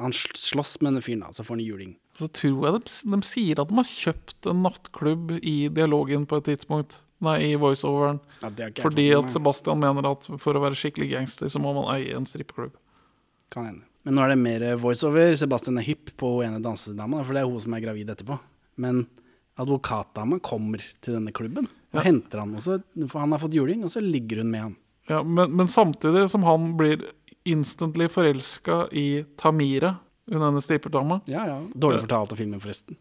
han sl- slåss med denne fyren, da, så får han juling.
Så tror jeg de, de sier at de har kjøpt en nattklubb i dialogen på et tidspunkt. Nei, i voiceoveren.
Ja, det har ikke jeg
Fordi
fått med
at
meg.
Sebastian mener at for å være skikkelig gangster, så må man eie en strippeklubb.
Kan hende. Men nå er det mer voiceover. Sebastian er hypp på hun ene dansedama, for det er hun som er gravid etterpå. Men advokatdama kommer til denne klubben og
Ja.
henter han også, for han har fått juling, og så ligger hun med han.
Ja, men, men samtidig som han blir instantly forelska i Tamira, hun ene stripperdama
Ja, ja. Dårlig fortalt av filmen, forresten.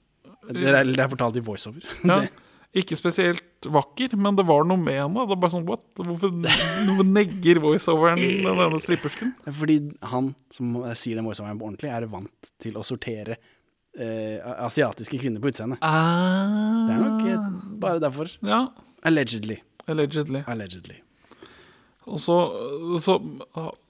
Det er, det er fortalt i voiceover.
ja,
Det-
Ikke spesielt vakker, men det var noe med henne. Det er bare sånn, what? Hvorfor hvorfor negger voiceoveren den ene strippersken?
Det er Fordi han som sier den voiceoveren på ordentlig, er vant til å sortere eh, asiatiske kvinner på utseendet. Det er nok eh, bare derfor.
Ja,
Allegedly.
allegedly.
Allegedly.
Og så, så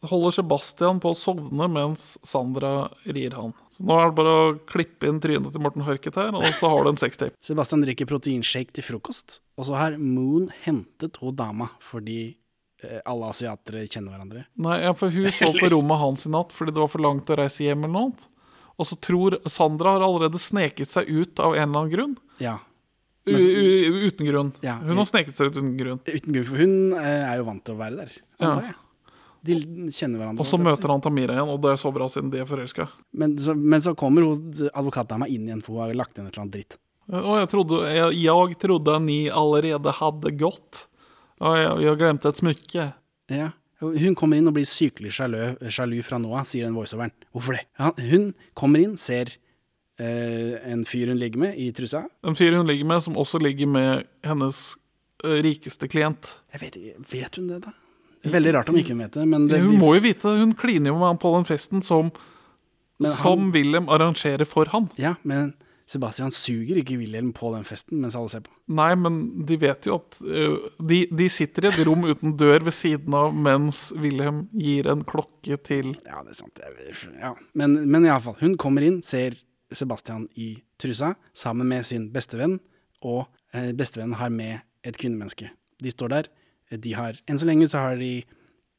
holder Sebastian på å sovne mens Sandra rir han. Så nå er det bare å klippe inn trynet til Morten Harket her, og så har du en sextape.
Sebastian drikker proteinshake til frokost, og så har Moon hentet hun dama fordi eh, alle asiatere kjenner hverandre.
Nei, ja, for hun så på rommet hans i natt fordi det var for langt å reise hjem eller noe. annet. Og så tror Sandra har allerede sneket seg ut av en eller annen grunn.
Ja,
U u uten grunn.
Ja,
Hun har sneket seg ut uten grunn.
uten grunn, for hun eh, er jo vant til å være der, antar jeg. De kjenner hverandre.
Og så
holdt jeg på å si.
møter han Tamira igjen, og det er så bra siden de er forelska.
Men så, men så kommer hun advokatdama inn igjen, for hun har lagt igjen et eller annet dritt.
Og jeg trodde, jeg, jeg trodde ni allerede hadde gått. Og jeg, jeg glemte et smykke.
Ja. Hun kommer inn og blir sykelig sjalu, sjalu fra nå av, sier den voiceoveren. Hvorfor det? Han, hun kommer inn, ser eh, en fyr hun ligger med i trusa.
En fyr hun ligger med, som også ligger med hennes eh, rikeste klient.
Jeg vet, ikke- vet hun det, da? Veldig rart om ikke hun vet det, men, det,
hun må jo vite, hun kliner jo med han på den festen som,
Men han-
som Wilhelm arrangerer for han.
ja, men Sebastian suger ikke Wilhelm på den festen mens alle ser på.
Nei, men de vet jo at eh, de, de sitter i et rom uten dør ved siden av mens Wilhelm gir en klokke til
Ja, det er sant. Jeg- Ja. Men, men iallfall. Hun kommer inn, ser Sebastian i trusa sammen med sin bestevenn, og eh, bestevennen har med et kvinnemenneske. De står der. eh, De har, enn så lenge så har de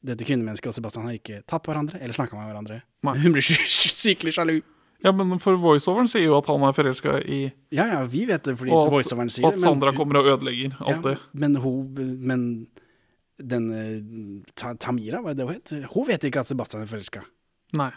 dette kvinnemennesket og Sebastian har ikke tatt på hverandre eller snakka med hverandre.
Nei.
Hun blir sy- sy- sykelig sjalu.
Ja, men for voiceoveren sier jo at han er forelska i
Ja, ja, vi vet det fordi
Og at,
voiceoveren sier
at Sandra kommer og ødelegger alt det.
Ja, men hun Men denne Ta- Tamira, hva er det hun het? Hun vet ikke at Sebastian er forelska.
Nei.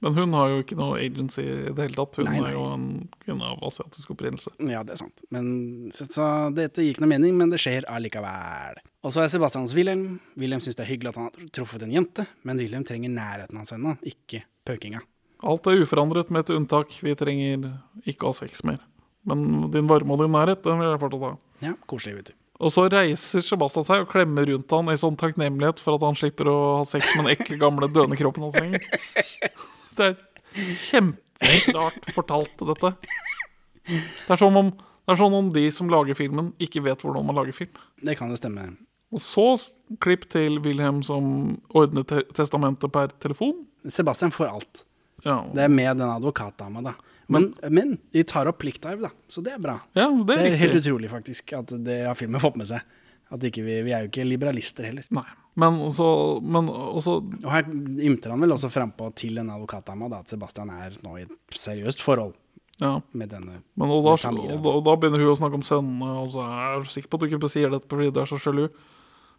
Men hun har jo ikke noe agency i det hele tatt. Hun
Nei, nei.
er jo en kvinne av asiatisk opprinnelse.
Ja, det er sant. Men, så, så dette gir ikke noe mening, men det skjer allikevel. Og så er Sebastian hos Wilhelm. Wilhelm syns det er hyggelig at han har truffet en jente, men Wilhelm trenger nærheten hans ennå, ikke pøkinga.
Alt er uforandret med et unntak. Vi trenger ikke ha sex mer. Men din varme og din nærhet, den vil jeg fortsatt ha.
Ja, koselig, vet du.
Og så reiser Sebastian seg og klemmer rundt han i sånn takknemlighet for at han slipper å ha sex med den ekle, gamle, døende kroppen hans lenger. Det er kjempeklart fortalt, dette. Det er som om, det er sånn om de som lager filmen, ikke vet hvordan man lager film.
Det kan jo stemme.
Og så s- klipp til Wilhelm som ordnet te testamentet per telefon.
Sebastian får alt.
Ja,
Det er med den advokatdama, da. Men, men de tar opp pliktarv, da, så det er bra.
ja det
Det
er
er helt
riktig.
utrolig, faktisk, at det har filmen fått med seg. At ikke vi, vi er jo ikke liberalister heller.
Nei. Men også, men også
Og her ymter han vel også frampå til denne advokatdama da, at Sebastian er nå i et seriøst forhold
ja.
med denne
Men og da,
Med Tamira.
og, da, og da begynner hun å snakke om sønnene, og så er du sikker på at du ikke sier dette fordi du er så sjalu.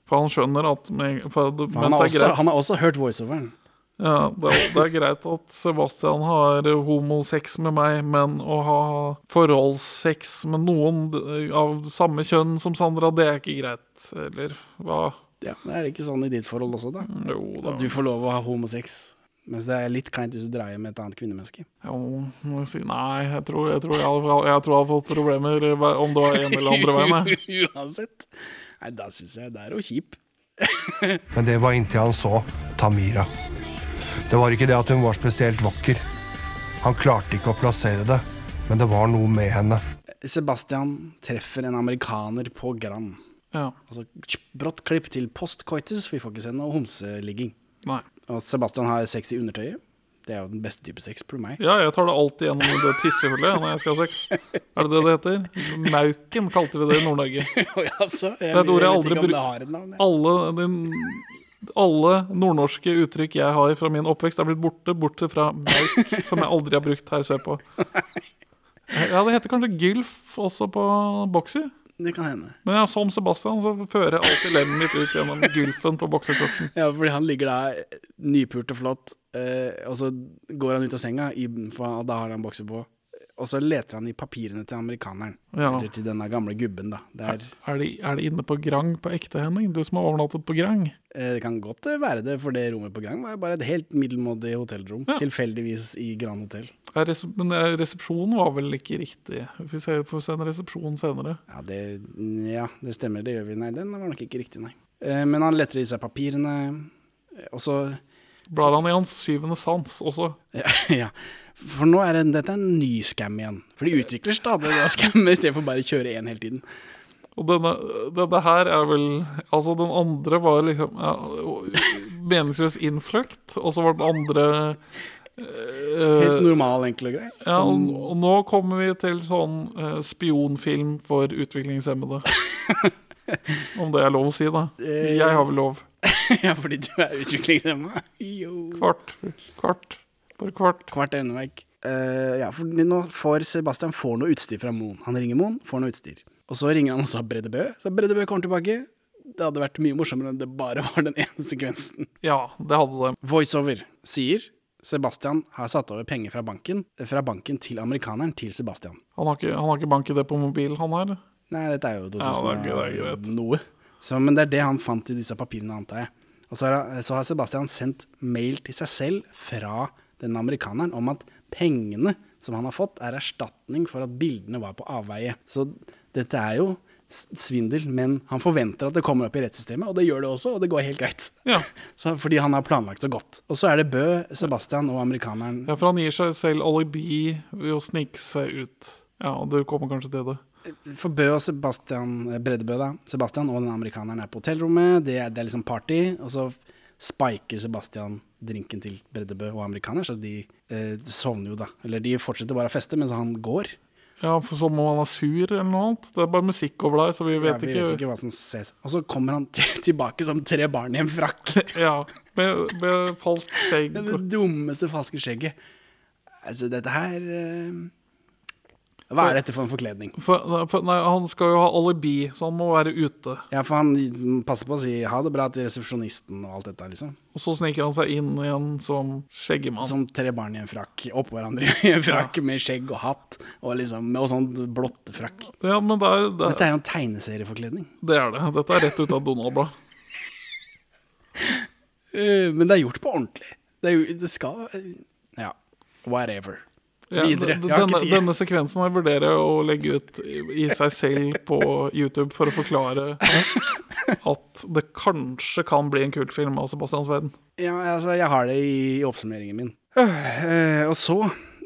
For han skjønner at men, for, det-
For han,
mens
har
det, er
også,
greit,
han har også hørt voiceoveren.
ja, det, er- det er greit at Sebastian har homosex med meg, men å ha forholdssex med noen d- av samme kjønn som Sandra, det er ikke greit. Eller hva?
Ja, det er ikke sånn i ditt forhold også, da.
Jo da.
At du får lov å ha homosex. Mens det er litt kleint hvis du dreier med et annet kvinnemenneske.
Jo, må jeg si nei. Jeg tror jeg, tror jeg, hadde, jeg tror jeg hadde fått problemer hver- om det var ene eller andre veien. jeg.
Uansett. Nei, da syns jeg det er jo kjip.
Men det var inntil han så Tamira. Det var ikke det at hun var spesielt vakker. Han klarte ikke å plassere det, men det var noe med henne.
Sebastian treffer en amerikaner på Grand.
Ja,
Altså, tsk, brått klipp til post-coitus, vi får ikke se noe homseligging.
nei.
Og Sebastian har sex i undertøyet. Det er jo den beste type sex, spør du meg.
Ja, jeg tar det alltid gjennom det tissehullet jeg, når jeg skal ha sex. Er det det det heter? Mauken kalte vi det i Nord-Norge.
altså, jeg,
er et ord jeg aldri
ikke om det
bruk-
har et navn. jeg.
Alle, din- alle nordnorske uttrykk jeg har fra min oppvekst, er blitt borte, bortsett fra mauk, som jeg aldri har brukt her sørpå. Ja, det heter kanskje gylf også på bokser.
Det kan hende.
Men ja, som Sebastian så fører jeg alltid lemmet mitt ut gjennom gylfen på bokserkorten.
Ja, fordi han ligger da nypult og flott, eh, og så går han ut av senga, i, for da har han bokser på. Og så leter han i papirene til amerikaneren,
Ja.
eller til denne gamle gubben, da. Det, er,
Er de, er de inne på Grang på ekte, Henning? Du som har overnattet på Grang?
eh, det kan godt være det, for det rommet på Grand var bare et helt middelmådig hotellrom.
Ja.
Tilfeldigvis i Grand Hotell.
Ja, resep- Men eh, resepsjonen var vel ikke riktig. Vi ser- får se en resepsjon senere.
Ja det, ja, det stemmer, det gjør vi. Nei, den var nok ikke riktig, nei. Eh, men han leter i seg papirene, eh, og så
Blar han i hans syvende sans også.
Ja, ja. For nå er det, dette er en ny scam igjen. For de utvikler stadig det skammet i stedet for bare å kjøre én hele tiden.
Og denne, denne her er vel Altså, den andre var liksom ja, og- meningsløs innfløkt, og så var den andre eh,
Helt normal, enkel og grei.
ja, og,
Sånn-
og nå kommer vi til sånn eh, spionfilm for utviklingshemmede. Om det er lov å si, da.
Eh.
Jeg har vel lov.
ja, fordi du er utviklingshemma. Jo.
Kvart. Kvart. Bare kvart.
Kvart øyemerk. Uh, ja, for nå får Sebastian får noe utstyr fra Moen. Han ringer Moen, får noe utstyr. Og så ringer han også Bredde Bø. Så Bredde Bø kommer tilbake. Det hadde vært mye morsommere om det bare var den ene sekvensen.
Ja, det hadde det.
Voiceover sier Sebastian har satt over penger fra banken, fra banken til amerikaneren til Sebastian.
Han har ikke, han har ikke bank i det på mobil, han her.
Nei, dette er jo
Ja,
2000
det er gøy, det er greit.
noe. Så, men det er det han fant i disse papirene, antar jeg. Og så har, så har Sebastian sendt mail til seg selv fra den amerikaneren om at pengene som han har fått, er erstatning for at bildene var på avveie. Så dette er jo s- svindel, men han forventer at det kommer opp i rettssystemet, og det gjør det også, og det går helt greit.
Ja.
Så, fordi han har planlagt så godt. Og så er det Bø, Sebastian og amerikaneren
ja, for han gir seg selv alibi ved å snike seg ut. Ja, og du kommer kanskje til det.
For Bø og Sebastian eh, Breddebø da Sebastian og den amerikaneren er på hotellrommet. Det er, det er liksom party. Og så spiker Sebastian drinken til Breddebø og amerikaneren, så de eh, sovner jo da. Eller de fortsetter bare å feste mens han går.
Ja, for som om han er sur eller noe annet. Det er bare musikk over deg, så vi
Ja,
vet
vi
ikke.
vet ikke hva som ses. Og så kommer han til- tilbake som tre barn i en frakk.
Ja, med, med falskt skjegg.
Det er det dummeste falske skjegget. Altså, dette her eh, Hva er dette for en forkledning?
For, for, nei, han skal jo ha alibi, så han må være ute.
Ja, for han passer på å si ha det bra til resepsjonisten og alt dette, liksom.
Og så sniker han seg inn igjen som skjeggemann.
Som tre barn i en frakk, oppå hverandre i en frakk med skjegg og hatt, og liksom med sånn blått frakk.
Ja, men det er det,
Dette er jo en tegneserieforkledning.
det er det. Dette er rett ut av Donald-blad.
Eh, men det er gjort på ordentlig. Det, er jo, det skal eh, Ja, whatever.
Ja,
Videre.
d-
Jeg har ikke
Denne,
tid.
denne sekvensen her vurderer jeg å legge ut i i seg selv på YouTube for å forklare at det kanskje kan bli en kult film av Sebastians verden.
Ja, altså, jeg har det i, i oppsummeringen min. Eh, og så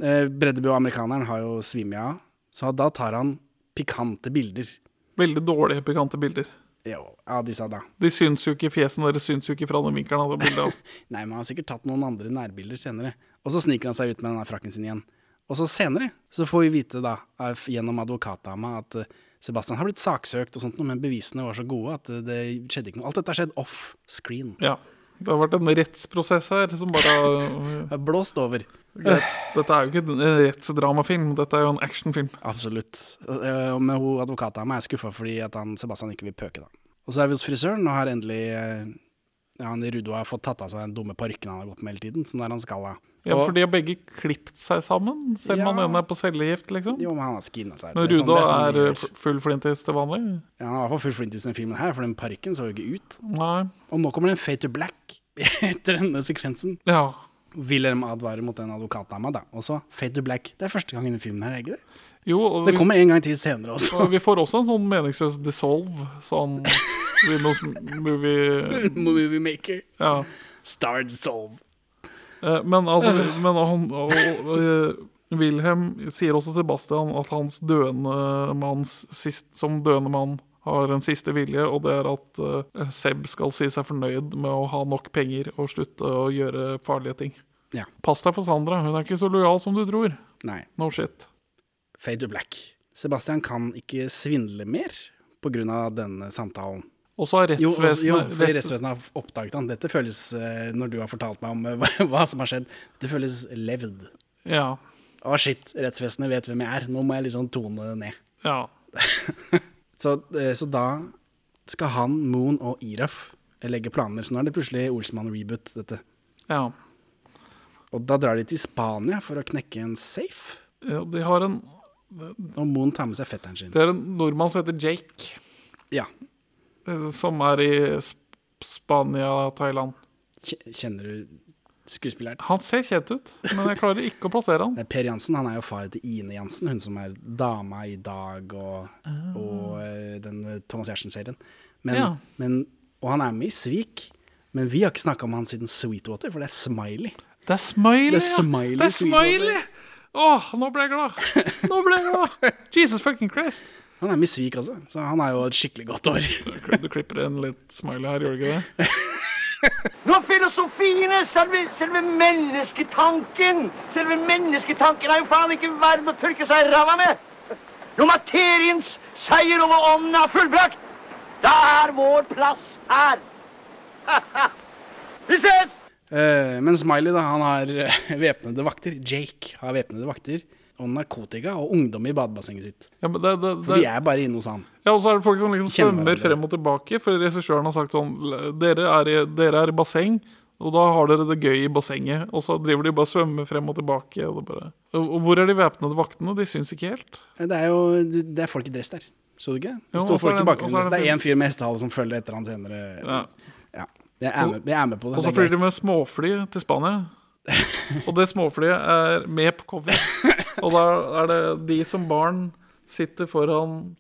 eh, Breddebø og amerikaneren har jo svimja av, så da tar han pikante bilder
Veldig dårlige, pikante bilder.
jo, av disse da.
De syns jo ikke fjesen deres syns jo ikke fra den vinkelen. av det bildet av.
Nei, men han har sikkert tatt noen andre nærbilder senere. Og så sniker han seg ut med denne frakken sin igjen. Og så senere så får vi vite da, av- gjennom advokatdama, at eh, Sebastian har blitt saksøkt og sånt, noe, men bevisene var så gode at eh, det skjedde ikke noe. Alt dette har skjedd off screen.
Ja. Det har vært en rettsprosess her som bare har-
Det er Blåst over.
Dette er jo ikke en rettsdramafilm, dette er jo en actionfilm.
Absolutt. Eh, Men hun advokatdama er skuffa fordi at han, Sebastian ikke vil pøke, da. Og så er vi hos frisøren, og har endelig eh, ja, han i Rudo har fått tatt av seg den dumme parykken han har gått med hele tiden, så nå er han skalla.
Ja,
Og-
for de har begge klipt seg sammen, selv om
Ja.
han ene er på cellegift, liksom.
Jo, men han har skinna seg.
Men
Det sånn-
Ruda
det sånn de
er
gjør.
f- full flintis til vanlig.
Ja, Han var i hvert fall full flint i denne filmen her, for den parykken så jo ikke ut.
Nei.
Og nå kommer det en fade to black etter denne sekvensen.
Ja.
Wilhelm advarer mot den advokatdama, da. Og så fade to black. Det er første gang i denne filmen her, er ikke det?
Jo, og
Det
vi,
kommer en gang til senere også.
og vi får også en sånn meningsløs dissolve, sånn Windows Movie
Moviemaker.
Ja.
Star Dissolve.
Eh, Men altså men han, og, og, eh, Wilhelm sier også Sebastian at hans døende manns sist, som døende mann har en siste vilje, og det er at eh, Seb skal si seg fornøyd med å ha nok penger og slutte å gjøre farlige ting.
Ja.
Pass deg for Sandra, hun er ikke så lojal som du tror.
Nei,
No shit.
fade to black. Sebastian kan ikke svindle mer på grunn av denne samtalen.
Og så har
Jo, og- jo
rettsvesenet
fordi
retts-
rettsvesenet har oppdaget han. Dette føles, eh, når du har fortalt meg om eh, hva- hva som har skjedd, det føles levd.
Ja.
Å, shit, rettsvesenet vet hvem jeg er. Nå må jeg liksom tone ned.
ja.
Så, eh, så da skal han, Moon og Iraf legge planer. Så nå er det plutselig Olsmann reboot, dette.
Ja.
Og da drar de til Spania for å knekke en safe.
ja. De har en
Og Moon tar med seg fetteren sin.
Det er en nordmann som heter Jake,
Ja.
eh, som er i Sp- Spania, Thailand.
Kje- Kjenner du skuespilleren?
Han ser kjent ut, men jeg klarer ikke å plassere han.
Det er Per Jansen han er jo far til Ine Jansen, hun som er dama i Dag og, og eh, den eh, Thomas Giertsen-serien. Men,
Ja.
men, og han er med i Svik, men vi har ikke snakka om han siden Sweetwater, for det er Smiley.
Det er Smiley!
Det er Smiley,
ja. Det er
Sweetwater.
smiley. Åh, nå ble jeg glad! Nå ble jeg glad! Jesus fucking Christ!
Han er med i Svik også, så han er jo et skikkelig godt år.
Du klipper en litt smiley her, gjør du ikke det?
Når filosofien er selve, selve mennesketanken Selve mennesketanken er jo faen ikke verden å tørke seg i ræva med! Når materiens seier over ånden er fullbrakt, da er vår plass her! Vi ses!
Eh, men Smiley, da, han har eh, væpnede vakter. Jake har væpnede vakter. og narkotika og ungdom i badebassenget sitt.
Ja, men det, det,
For
det,
vi er bare inne hos han.
ja, og så er det folk som liksom
Kjenner
svømmer
hverandre.
frem og tilbake, for regissøren har sagt sånn "L- dere er, i, dere er i basseng, og da har dere det gøy i bassenget. Og så driver de bare og svømmer frem og tilbake. Og, det bare. og og hvor er de væpnede vaktene? De syns ikke helt.
Eh, Det er jo du- det er folk i dress der. Så du ikke? Det
Jo,
står
og så er
folk i
det- og så
bakgrunnen.
er
Det
det
er én fyr med hestehale som følger etter han senere.
Ja.
Ja. Jeg er med, jeg er med på det.
Og så
det er
flyr de
greit.
med småfly til Spania. Og det småflyet er med på cover. Og da er det de som barn sitter foran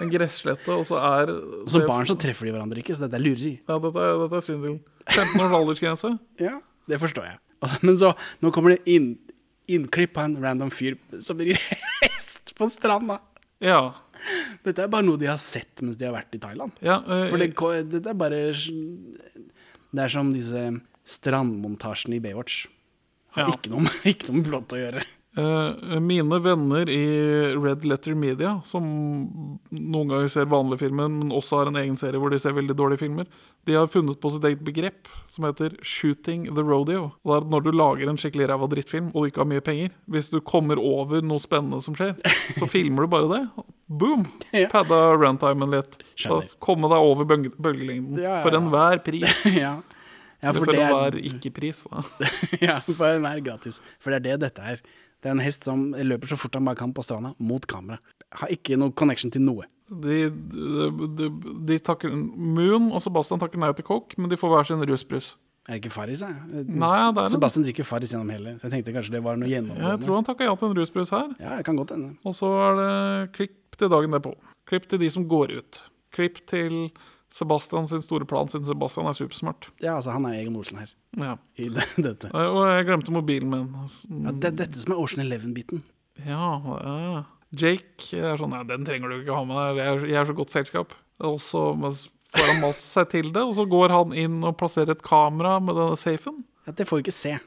en gresslette, og så er
Og som barn så treffer de hverandre ikke, så dette er lureri.
Ja, dette er, dette er svindel. 15 års aldersgrense.
Ja, det forstår jeg. Altså, Men så, nå kommer det inn, innklipp av en random fyr som rir hest på stranda.
Ja.
Dette er bare noe de har sett mens de har vært i Thailand.
ja eh,
For det, ko- dette er bare Det er som disse strandmontasjene i Baywatch. Har
Ja.
ikke, noe, med- ikke noe med plott å gjøre.
eh, mine venner i Red Letter Media, som noen ganger ser vanlige filmer, men også har en egen serie hvor de ser veldig dårlige filmer, de har funnet på sitt eget begrep som heter 'shooting the rodeo'. Og det er at når du lager en skikkelig ræva drittfilm og du ikke har mye penger, hvis du kommer over noe spennende som skjer, så filmer du bare det. og Boom!
Ja.
Padda runtimen litt.
Skjønner.
Og Komme deg over bølge- bølgelengden.
Ja, ja,
For
ja.
enhver pris.
Ja, ja
Eller
for
for
det
enhver
er
ikke-pris. da.
ja, for den er gratis. For det er det dette er. Det er en hest som løper så fort han bare kan på stranda, mot kamera. Har ikke noe connection til noe.
De, de, de, de takker Moon og Sebastian takker nei til kokk, men de får hver sin rusbrus.
Er det ikke Farris, jeg?
Nei, det er en-
Sebastian drikker Farris gjennom hele, så jeg tenkte kanskje det var noe
Jeg tror
gjennomgående.
han takka ja til en rusbrus her.
Ja, det kan godt hende.
Og så er det klipp til dagen derpå. Klipp til de som går ut. Klipp til Sebastian sin store plan, siden Sebastian er supersmart.
Ja, altså, han er Egon Olsen her,
Ja.
i det, dette.
Eh, Og jeg glemte mobilen min.
Ja, det er dette som er Ocean Eleven-biten.
Ja, ja. Jake er sånn Nei, den trenger du ikke ha med deg. Jeg er, jeg er så godt selskap. Og så men så får han mast seg til det, og så går han inn og plasserer et kamera med denne safen.
Ja, det får vi ikke se.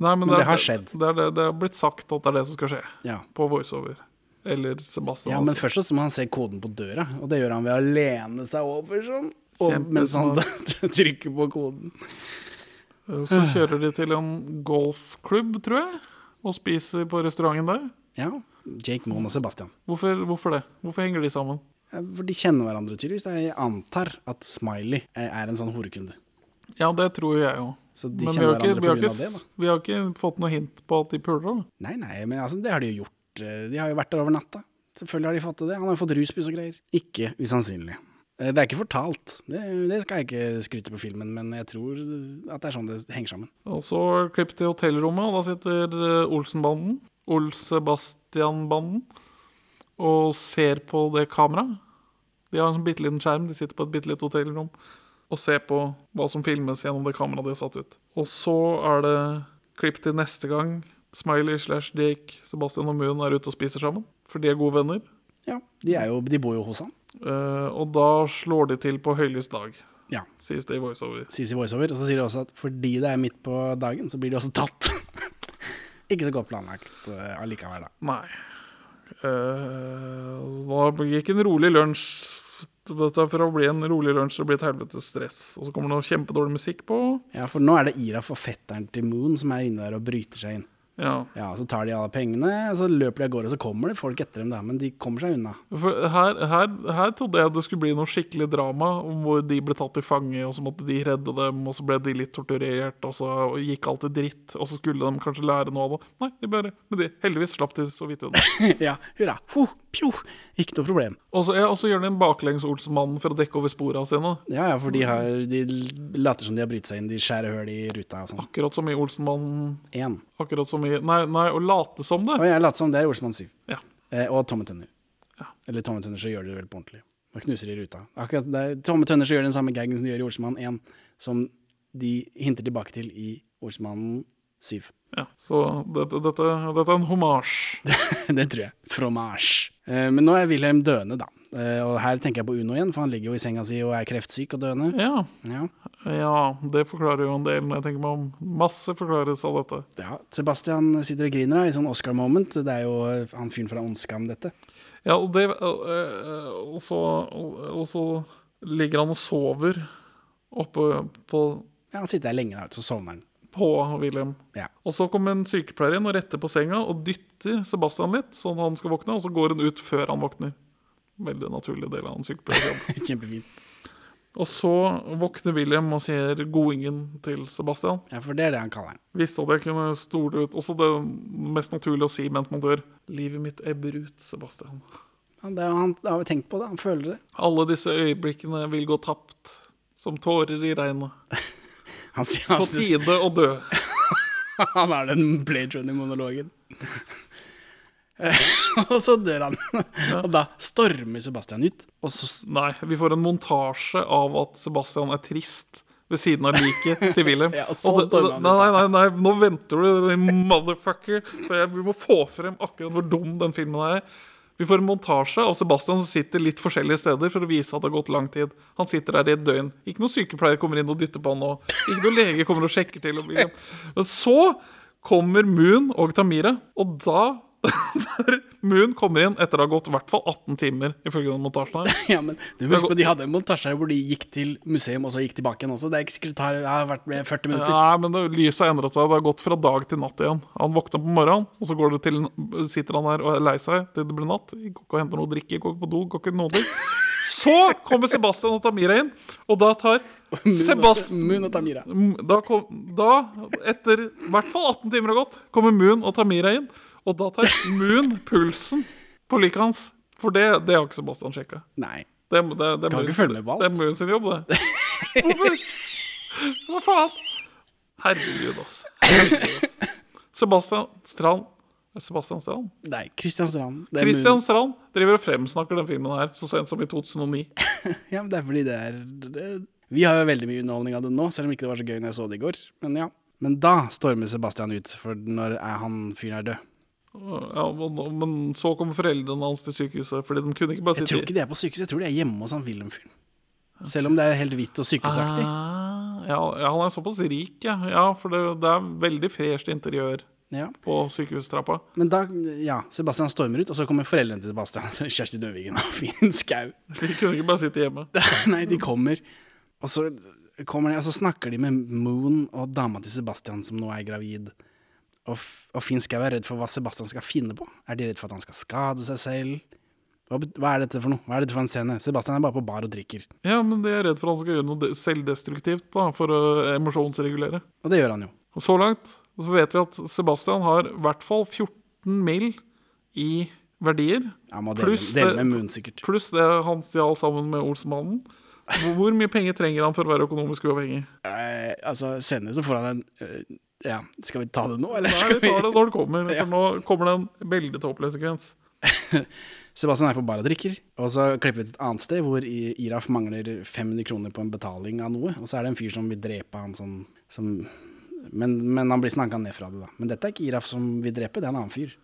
Nei, men,
Men
er-
det har skjedd.
Det, er, det, det har blitt sagt at det er det som skal skje.
Ja.
På voiceover. Eller Sebastian.
Ja, men
altså.
først så må han se koden på døra, og det gjør han ved å lene seg over sånn. Og
Kjempesmart.
mens han trykker på koden.
Eh, Så
Øh.
kjører de til en golfklubb, tror jeg, og spiser på restauranten der.
Ja. Jake Moon og Sebastian.
Hvorfor, hvorfor det? Hvorfor henger de sammen?
Ja, For de kjenner hverandre tydeligvis. Jeg antar at Smiley eh, er en sånn horekunde.
Ja, det tror jeg jo.
Så de
men vi
kjenner
har, ikke,
hverandre
vi,
på
har
grunn av det,
ikke,
da.
vi har ikke fått noe hint på at de puler. da.
Nei, nei, men altså, det har de jo gjort. Eh, De har jo vært der over natta. Selvfølgelig har de fått til det. Han har jo fått rusbuss og greier. Ikke usannsynlig. Eh, Det er ikke fortalt. Det, det skal jeg ikke skryte på filmen, men jeg tror at det er sånn det henger sammen.
Og så klipp til hotellrommet, og da sitter eh, Olsen-banden, Ols-Sebastian-banden, og ser på det kameraet. De har en sånn bitte liten skjerm, de sitter på et bitte lite hotellrom og ser på hva som filmes gjennom det kameraet de har satt ut. Og så er det klipp til neste gang Smiley slash Jake, Sebastian og Moon er ute og spiser sammen, for de er gode venner.
Ja, de, er jo, de bor jo hos han.
Eh, og da slår de til på høylys dag,
Ja.
sies det i voiceover.
sies i voiceover. Og så sier de også at fordi det er midt på dagen, så blir de også tatt. Ikke så godt planlagt eh, allikevel, da.
Nei. Eh, så da gikk en rolig lunsj. Dette er for å bli en rolig lunsj og bli et helvetes stress. Og så kommer det noe kjempedårlig musikk på.
Ja, For nå er det Iraf og fetteren til Moon som er inne der og bryter seg inn.
Ja.
Ja, Så tar de alle pengene, og så løper de av gårde. og Så kommer det folk etter dem, da, men de kommer seg unna.
For her, her, her trodde jeg det skulle bli noe skikkelig drama om hvor de ble tatt til fange, og så måtte de redde dem, og så ble de litt torturert, og så gikk alt til dritt, og så skulle de kanskje lære noe av det. Nei, de bare Men de heldigvis slapp de så vidt unna.
ja, hurra. Ho, pjo. Ikke noe problem.
Og så, ja, og så gjør de en baklengs Olsenmannen for å dekke over spora sine.
Ja, ja, for de, har, de later som de har brytt seg inn. De skjærer hull i ruta og sånn.
Akkurat som i Olsenmannen
Én.
Akkurat som i Nei, nei å late som det.
Og jeg later som det er Olsmann 7.
Ja.
Eh, og Tomme Tønner. Eller Tomme Tønner så gjør de det vel på ordentlig. Og knuser i ruta. Akkurat det er, Tomme Tønner så gjør den samme gaggen som de gjør i Olsmann 1, som de hinter tilbake til i Olsmannen 7.
Ja. Så dette, dette, dette er en homasj.
det tror jeg. Fromage. Eh, men nå er Wilhelm døende, da. Eh, og her tenker jeg på Uno igjen, for han ligger jo i senga si og er kreftsyk og døende.
Ja.
Ja.
ja, det forklarer jo en del når jeg tenker meg om. Masse forklares av dette.
ja. Sebastian sitter og griner da, i sånn Oscar-moment. Det er jo eh, han fyren fra Ondskam, dette.
Ja, og det Og eh, og så, og og så ligger han og sover oppe på
Ja, han sitter der lenge da, ute, så sovner han.
på Wilhelm.
Ja.
Og så kommer en sykepleier inn og retter på senga og dytter Sebastian litt, sånn han skal våkne, og så går hun ut før han våkner. Veldig naturlig del av en sykepleierjobb.
Kjempefint.
Og så våkner William og sier godingen til Sebastian.
Ja, for det er det han kaller den.
Visste at jeg kunne stole ut Også det mest naturlige å si mens man dør. Livet mitt ebber ut, Sebastian.
Ja, det har han det har vi tenkt på, det. Han føler det.
Alle disse øyeblikkene vil gå tapt. Som tårer i regnet.
Han sier
På
han, sier-
tide å dø.
han er den Blade Runner-monologen. Eh, og så dør han. Og da stormer Sebastian ut. Og så
Nei, vi får en montasje av at Sebastian er trist ved siden av liket til Wilhelm.
Ja, og så
det-
stormer han ut.
nei, nei, nei, nei, nå venter du, din motherfucker. For jeg, vi må få frem akkurat hvor dum den filmen er. Vi får en montasje av Sebastian som sitter litt forskjellige steder for å vise at det har gått lang tid. Han sitter der i et døgn. Ikke noen sykepleier kommer inn og dytter på han nå. Ikke noen lege kommer og sjekker til. Og Wilhelm. Men så kommer Moon og Tamira, og da når Moon kommer inn etter å ha gått i hvert fall 18 timer, ifølge den montasjen her.
Ja, men du må huske på, De hadde en montasje her hvor de gikk til museum og så gikk tilbake igjen også. Det er ikke sikkert det har- det har vært med 40 minutter.
Nei, men det, lyset har endret seg. Det har gått fra dag til natt igjen. Han våkner på morgenen, og så går det til, sitter han her og er lei seg til det blir natt. Går ikke og henter noe å drikke, går ikke på do, går ikke noen ting. Så kommer Sebastian og Tamira inn, og da tar Sebastian
Moon og Tamira.
da, kom, da, etter i hvert fall 18 timer har gått, kommer Moon og Tamira inn. Og da tar Moon pulsen på liket hans. For det, det har ikke Sebastian sjekka.
Nei.
Det, det, det,
Kan
Moon-
ikke følge med på alt.
Det er Moon sin jobb, det. Hvorfor? Hva faen? Herregud, altså. Herregud, ass. Sebastian Strand Sebastian Strand?
Nei, Christian Strand. Det er
Christian
Moon.
Strand driver og fremsnakker den filmen her så sent som i 2009.
Ja, men det er fordi det er det, Vi har jo veldig mye underholdning av det nå, selv om ikke det var så gøy når jeg så det i går. Men ja. Men da stormer Sebastian ut, for når er han fyren er død?
Ja, men, men så kommer foreldrene hans til sykehuset, fordi de kunne ikke bare
Jeg
sitte
tror ikke de er på sykehuset, jeg tror de er hjemme hos han Wilhelm-fyren. Selv om det er helt hvitt og sykehusaktig.
Ah, ja, ja, han er såpass rik, ja. ja for det, det er veldig fresht interiør
Ja.
på sykehustrappa.
Men da, ja, Sebastian stormer ut, og så kommer foreldrene til Sebastian, Kjersti Døvigen og Finn Skau.
Vi kunne ikke bare sitte hjemme.
Nei, de kommer. Og så, kommer de, og så snakker de med Moon og dama til Sebastian, som nå er gravid. Og, f- og Finn Skau er redd for hva Sebastian skal finne på. Er de redd for at han skal skade seg selv? Hva, bet- hva er dette for noe? Hva er dette for en scene? Sebastian er bare på bar og drikker.
Ja, men det er jeg redd for han skal gjøre noe de- selvdestruktivt da, for å emosjonsregulere.
Og det gjør han jo.
Og så langt så vet vi at Sebastian har i hvert fall 14 mil i verdier.
Han må dele,
Pluss det-
dele med Moon, sikkert.
Pluss det han stjal sammen med Olsenmannen. Hvor- Hvor mye penger trenger han for å være økonomisk uavhengig?
Eh, altså, senere så får han en eh, Ja, skal vi ta det nå, eller?
Nei,
skal
vi tar det når det kommer,
Ja.
for nå kommer det en veldig tåpelig sekvens.
Sebastian er på bar og drikker, og så klipper vi til et annet sted hvor I- Iraf mangler 500 kroner på en betaling av noe, og så er det en fyr som vil drepe han som, som men, men han blir snakka ned fra det, da. Men dette er ikke Iraf som vil drepe, det er en annen fyr.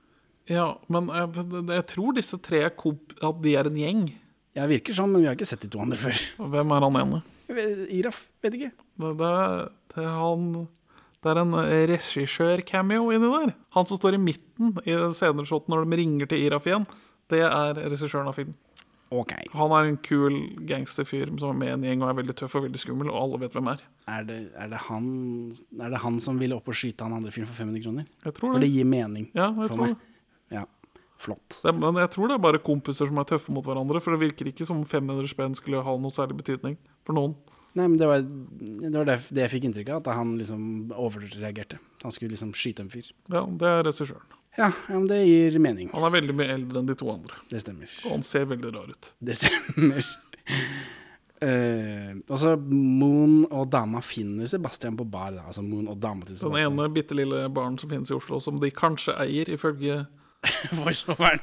Ja, men jeg, jeg tror disse tre er komp at de er en gjeng.
Ja, virker sånn, men vi har ikke sett de to andre før.
Hvem er han ene?
Jeg vet- Iraf, vet ikke.
Det, det, er- det er han Det er en regissør-cameo inni der. Han som står i midten i den senere shoten når de ringer til Iraf igjen. Det er regissøren av filmen.
Ok,
Han er en kul gangsterfyr som er med i en gjeng og er veldig tøff og veldig skummel, og alle vet hvem er.
er det, er det, han, er det han som ville opp og skyte han andre fyren for 500 kroner?
Jeg tror
For
det.
det gir mening
Ja, jeg
for
tror
meg.
det.
Ja, flott.
Det, er- men jeg tror det er bare kompiser som er tøffe mot hverandre. For det virker ikke som 500 spenn skulle ha noe særlig betydning for noen.
Nei, men det var det, var det, det jeg fikk inntrykk av, at han liksom overreagerte. Han skulle liksom skyte en fyr.
Ja, det er regissøren.
Ja, ja men det gir mening.
Han er veldig mye eldre enn de to andre.
Det stemmer.
Og han ser veldig rar ut.
Det stemmer. Eh, og så Moon og dama finner Sebastian på bar. Da. Altså Moon og dama til
Den
Sebastian.
ene bitte lille baren som finnes i Oslo, som de kanskje eier, ifølge
Voiceoveren.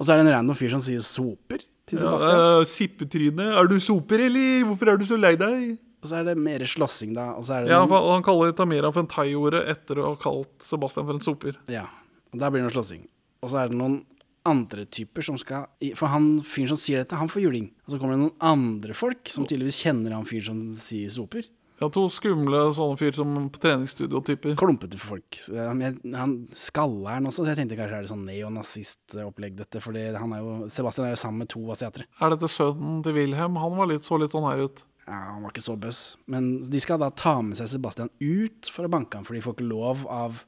og så er det en random fyr som sier soper til Sebastian.
ja, eh, Sippetryne. Er du soper, eller? Hvorfor er du så lei deg?
Og så er det mer slåssing, da. Og så er det
Ja,
noen-
for Han kaller Tamira for en thaiore etter å ha kalt Sebastian for en soper.
Ja, og der blir det noe slåssing. Og så er det noen andre typer som skal i- For han fyren som sier dette, han får juling. Og så kommer det noen andre folk som tydeligvis kjenner han fyren som sier soper.
Ja, To skumle sånne fyr som på treningsstudio-typer.
Klumpete folk. Så Han, jeg- han skalleren også, så jeg tenkte kanskje er det sånn neonazistopplegg dette. For han er jo, Sebastian er jo sammen med to asiatere.
Er dette sønnen til Wilhelm? Han var litt, så litt sånn her ut.
Ja, Ja, han var ikke så bøss. Men de skal da ta med seg Sebastian ut for å banke han, for de får ikke lov av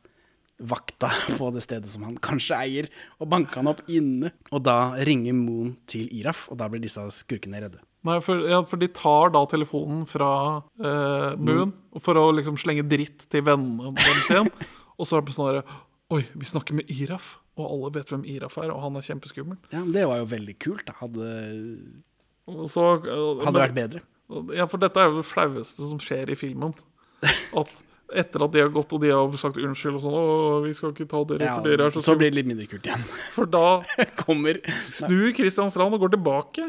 vakta på det stedet som han kanskje eier, og banke han opp inne. Og da ringer Moon til Iraf, og da blir disse skurkene redde.
Nei, for, ja, for de tar da telefonen fra eh, Moon for å liksom slenge dritt til vennene deres igjen. og så er det sånn der, Oi, vi snakker med Iraf, og alle vet hvem Iraf er, og han er kjempeskummel.
Ja, men Det var jo veldig kult. da. Hadde,
Og så, eh,
hadde vært bedre.
Ja, for dette er jo det flaueste som skjer i filmen. At etter at de har gått og de har sagt unnskyld og sånn Å, vi skal ikke ta dere,
Ja,
for dere er så
så
skummel.
blir det litt mindre kult igjen.
For da
Kommer
snur Kristian Strand og går tilbake.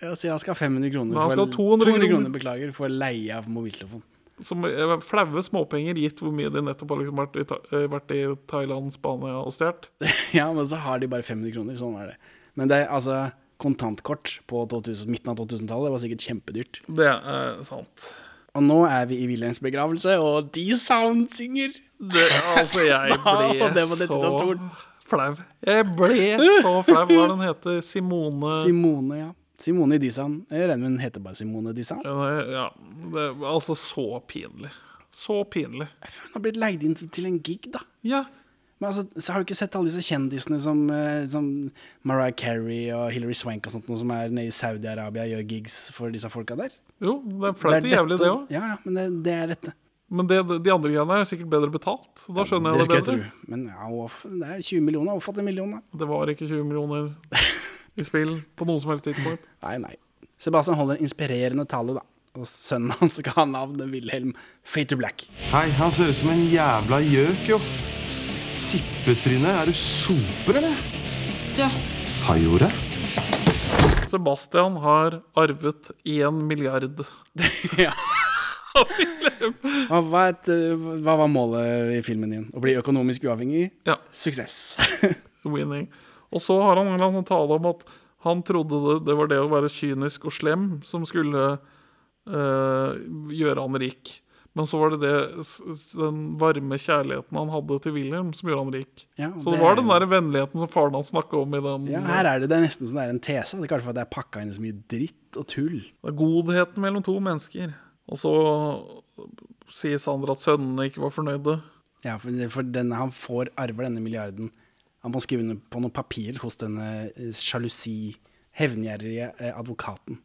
Jeg sier han skal ha 500 kroner
Men han skal ha 200 kroner.
beklager, for leie av mobiltelefon.
Som eh, flaue småpenger gitt hvor mye de nettopp har liksom vært, i, Tha- eh, vært i Thailand, Spania og stjålet.
ja, men så har de bare 500 kroner. Sånn er det. Men det er altså kontantkort på 2000, midten av 2000-tallet det var sikkert kjempedyrt.
Det er sant.
Og nå er vi i Wilhelms begravelse, og de soundsynger!
Det, altså, jeg
Da,
ble
det var dette da
så
stolen.
flau. Jeg ble så flau. Hva er den heter? Simone
Simone, ja. Simone Disan. Jeg regner med hun heter bare Simone Disan.
Ja, nei, ja. Det, var altså, så pinlig. Så pinlig.
Hun har blitt leid inn til- til en gig, da.
Ja.
Men altså, så har du ikke sett alle disse kjendisene som, eh, som Mariah Carey og Hilary Swank og sånt, noe som er nede i Saudi-Arabia og gjør gigs for disse folka der?
Jo, det er flaut og jævlig, det òg.
Ja, ja, men det, det er dette.
Men det, de andre greiene er sikkert bedre betalt. Da skjønner jeg det
skulle
bedre.
tro. Men ja, hvorfor- det er 20 millioner. Hvorfor en million, da?
Det var ikke 20 millioner i spill på noe som helst tidspunkt.
Nei, nei. Sebastian holder en inspirerende tale, da. Og sønnen hans skal ha navnet Wilhelm Fate to Black.
Hei, han ser ut som en jævla gjøk, jo. Sippetryne. Er du soper, eller?
Du,
Pajordet?
Sebastian har arvet én milliard.
ja. Hva, hva, er et, eh, hva var målet i filmen din? Å bli økonomisk uavhengig?
Ja.
Suksess.
winning. Og så har han en eller annen tale om at han trodde det, det var det å være kynisk og slem som skulle eh, gjøre han rik. Men så var det det, s- s- den varme kjærligheten han hadde til Wilhelm, som gjorde han rik.
Ja,
så det,
det er
var den
jo-
der vennligheten som faren hans snakka om i den
ja, her er det, det er nesten sånn det er en tese. Det er kanskje for at det er pakka inn i så mye dritt og tull.
Det er godheten mellom to mennesker. Og så sier Sander at sønnene ikke var fornøyde.
Ja, for, for denne, han får arver denne milliarden. Han må skrive under på noen papirer hos denne eh, sjalusi, hevngjerrige eh, advokaten.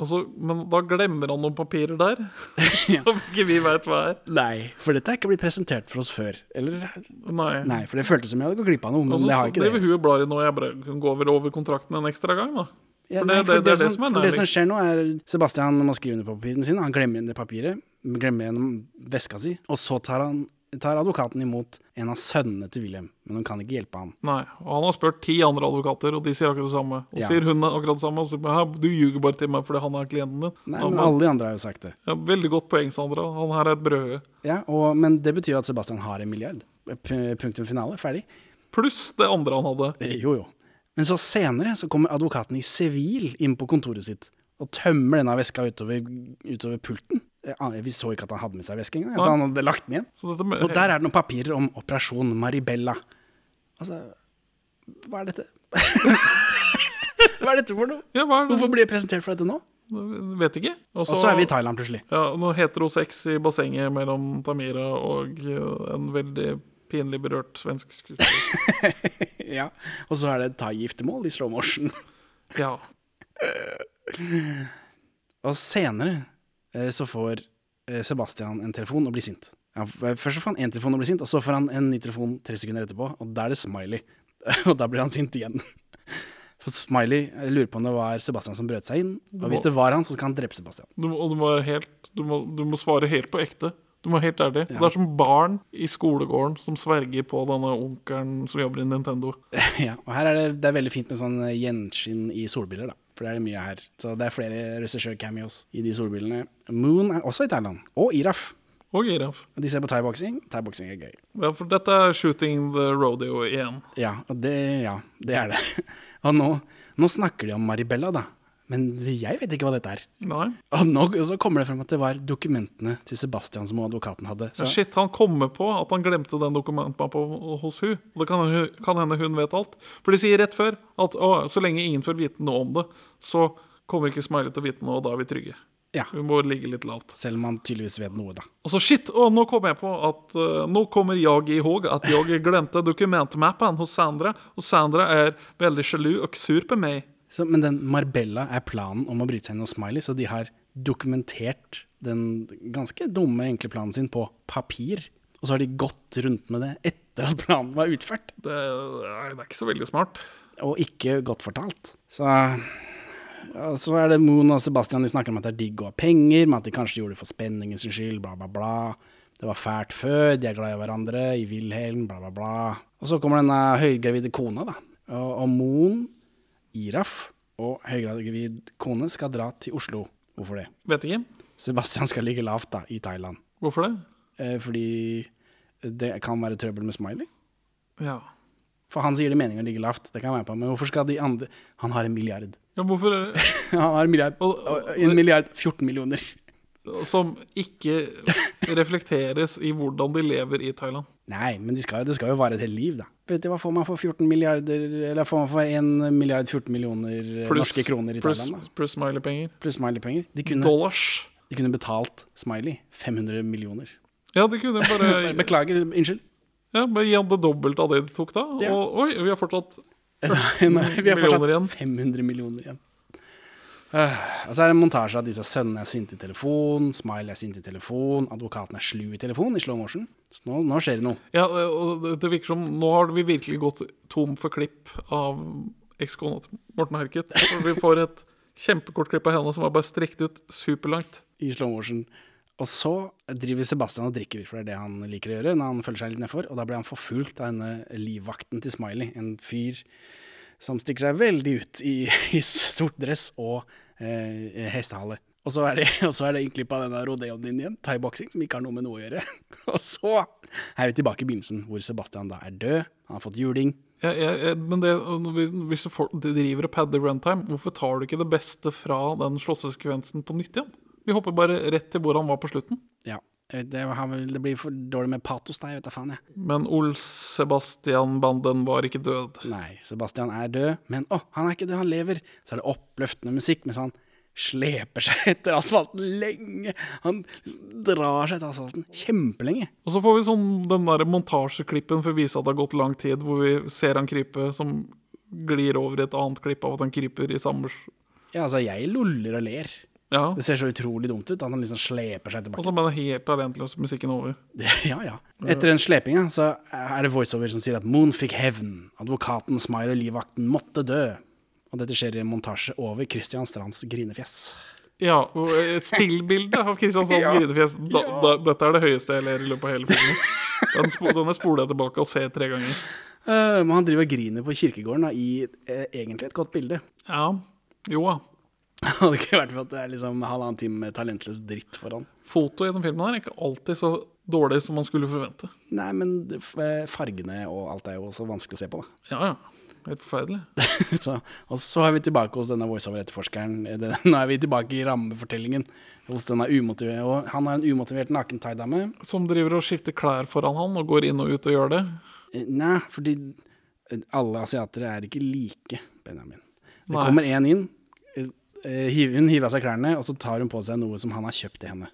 Og så, men da glemmer han noen papirer der, som ikke vi veit hva er.
Nei, for dette er ikke blitt presentert for oss før. Eller?
Nei.
Nei, for det føltes som jeg hadde gått glipp av noe, men
Og så
det har jeg ikke
driver
det.
hun og blar i noe jeg bare kan gå over, over kontrakten en ekstra gang, da.
Ja,
for
nei,
det-
for
det- det er det som er
for det som
nærliggende.
skjer nå, er Sebastian må skrive under på papirene sine. Han glemmer igjen det papiret, glemmer igjen veska si, og så tar, han, tar advokaten imot en av sønnene til Wilhelm, men hun kan ikke hjelpe han.
Nei, og Han har spurt ti andre advokater, og de sier akkurat det samme. Og
Ja.
sier hun akkurat det samme, og så sier hun, «Hæ, du ljuger bare til meg fordi han er klienten din.
Nei,
Ja,
men
men-
alle de andre har jo sagt det.
ja, veldig godt poeng, Sandra. Han her er et brødre.
Ja, og, men det betyr jo at Sebastian har en milliard. P- Punktum finale, ferdig.
Pluss det andre han hadde.
Eh, Jo, jo. Men så senere så kommer advokaten i sivil inn på kontoret sitt og tømmer denne veska utover, utover pulten. Eh, an- Vi så ikke at han hadde med seg veske engang. At
Nei.
han hadde lagt den igjen.
Så dette med,
Og der er det noen papirer om operasjon Maribella. Altså, hva er dette? hva er dette for noe?
ja, hva er det?
Hvorfor blir jeg presentert for dette nå?
Vet ikke.
Og så er vi i Thailand plutselig.
Ja, noe heterosex i bassenget mellom Tamira og eh, en veldig pinlig berørt svensk skuespiller.
Ja. Og så er det et thai-giftermål i slow motion.
Ja.
Og senere eh, så får eh, Sebastian en telefon og blir sint. Ja, f- eh, først så får han en telefon og blir sint, og så får han en ny telefon tre sekunder etterpå, og da er det Smiley. og da blir han sint igjen. For Smiley jeg lurer på om det var Sebastian som brøt seg inn, og hvis det var han, så skal han drepe Sebastian.
Du, må- og du må, være helt, du, må, du må svare helt på ekte. Du må være helt ærlig. Det er som barn i skolegården som sverger på denne onkelen som jobber i Nintendo.
ja, og her er det, det er veldig fint med sånn eh, gjenskinn i solbriller, da. For det er det mye her. Så det er flere regissør-cameos i de solbrillene. Moon er også i Thailand, og Iraf.
Og giraff.
Og de ser på thaiboksing. Thaiboksing er gøy.
Ja, for dette er shooting the rodeo igjen.
Ja, og det, ja, det er det. Og nå, nå snakker de om Maribella, da. Men jeg vet ikke hva dette er.
Nei.
Og nå og så kommer det frem at det var dokumentene til Sebastian som advokaten hadde. Så,
Shit, han kommer på at han glemte den dokumentmappa hos hun. Og det kan, hun- kan hende hun vet alt. For de sier rett før at å, så lenge ingen får vite noe om det, så kommer ikke Smiley til å vite noe, og da er vi trygge.
Ja.
Vi må ligge litt lavt.
Selv om han tydeligvis vet noe, da.
Og så shit, å, nå kom jeg på at eh, Nå kommer jeg i håp at jeg glemte dokumentmappen hos Sandra, og Sandra er veldig sjalu og sur på meg.
Så, men den Marbella er planen om å bryte seg inn hos Smiley, så de har dokumentert den ganske dumme enkle planen sin på papir. Og så har de gått rundt med det etter at planen var utført,
Det, nei, det er ikke så veldig smart.
og ikke godt fortalt. Så, ja, så er det Moon og Sebastian de snakker om at det er digg å ha penger, men at de kanskje gjorde det for spenningen sin skyld, bla, bla, bla. Det var fælt før, de er glad i hverandre, i Wilhelm, bla, bla, bla. Og så kommer denne høygravide kona, da. Og, og Moon Iraf og høygravid kone skal dra til Oslo. Hvorfor det?
Vet ikke.
Sebastian skal ligge lavt da, i Thailand.
Hvorfor det?
Eh, fordi det kan være trøbbel med Smiley.
Ja.
For han sier det er meningen å ligge lavt, det kan jeg være med på. Men hvorfor skal de andre Han har en milliard.
ja hvorfor er det
Han har en milliard.
Og- og-
En milliard 14 millioner.
Som ikke reflekteres i hvordan de lever i Thailand.
Nei, men de skal, jo- det skal jo vare et helt liv, da. Vet du hva får man for 14 milliarder Eller får man for 1 milliard 14 millioner eh, norske kroner i
pluss,
Thailand? da?
pluss smiley-penger.
Pluss Smiley-penger. De, kunne-
Dollars.
de kunne betalt Smiley 500 millioner.
Ja, de kunne bare
Beklager, unnskyld.
Ja, men gi han det dobbelt av det de tok da.
Ja.
Og oi, vi har fortsatt
Nei, vi har fortsatt
Millioner igjen.
500 millioner igjen. Øh, og så er det en montasje av disse sønnene er sinte i telefon, Smile er sint i telefon, advokaten er slu i telefon i slow motion. Så nå, nå skjer det noe.
Ja, og det- det virker som nå har vi virkelig gått tom for klipp av ekskona til Morten Harket. For Vi får et kjempekort klipp av henne som er bare strekt ut superlangt.
i slow motion. Og så driver Sebastian og drikker, for det er det han liker å gjøre når han føler seg litt nedfor. Og da blir han forfulgt av denne livvakten til Smiley, en fyr som stikker seg veldig ut i, i sort dress og eh, hestehale. Og så er det, og så er det innklipp av denne rodeoen din igjen, thaiboksing, som ikke har noe med noe å gjøre. Og så er vi tilbake i begynnelsen, hvor Sebastian da er død, han har fått juling.
Jeg, jeg, jeg, men det, når vi- hvis du får, de driver og padder runtime, hvorfor tar du ikke det beste fra den slåssesekvensen på nytt igjen? Vi hopper bare rett til hvor han var på slutten.
Ja, eh, det, har vel- det blir for dårlig med patos da, jeg vet da faen, jeg.
Men Ols Sebastian Banden var ikke død.
Nei, Sebastian er død, men å, han er ikke død, han lever. Så er det oppløftende musikk mens han sleper seg etter asfalten lenge. Han drar seg etter asfalten kjempelenge.
Og så får vi sånn den der montasjeklippen for å vise at det har gått lang tid, hvor vi ser han krype, som glir over i et annet klipp av at han kryper i samme s-
Ja, altså, jeg luller og ler.
Ja.
Det ser så utrolig dumt ut at han liksom sleper seg
Og
tilbake.
så med den helt talentløse musikken over.
Det- Ja, ja. Etter den slepinga så er det voiceover som sier at Moon fikk hevn. Advokaten, Smile og livvakten måtte dø. Og dette skjer i en montasje over Christian Strands grinefjes.
Ja, og et stillbilde av Kristian Sands grinefjes. Da, da, dette er det høyeste jeg ler i løpet av hele filmen. Den, spo, denne spoler jeg tilbake og ser tre ganger.
Eh, Men han driver og griner på kirkegården da, i eh, egentlig et godt bilde.
Ja, jo da.
Hadde ikke vært for at det er liksom halvannen time med talentløs dritt foran.
Foto i den filmen her er ikke alltid så dårlig som man skulle forvente.
Nei, men det- f- eh, fargene og alt er jo også vanskelig å se på, da.
Ja, ja. Helt forferdelig.
Så, og så er vi tilbake hos denne voiceover-etterforskeren. Eh, det- Nå er vi tilbake i rammefortellingen hos denne umotiverte Og han er en umotivert naken thaidame.
Som driver og skifter klær foran han og går inn og ut og gjør det.
Eh, Nei, fordi eh, alle asiatere er ikke like, Benjamin. Det
Nei.
kommer én inn, eh, eh, hiv- hun hiver av seg klærne, og så tar hun på seg noe som han har kjøpt til henne.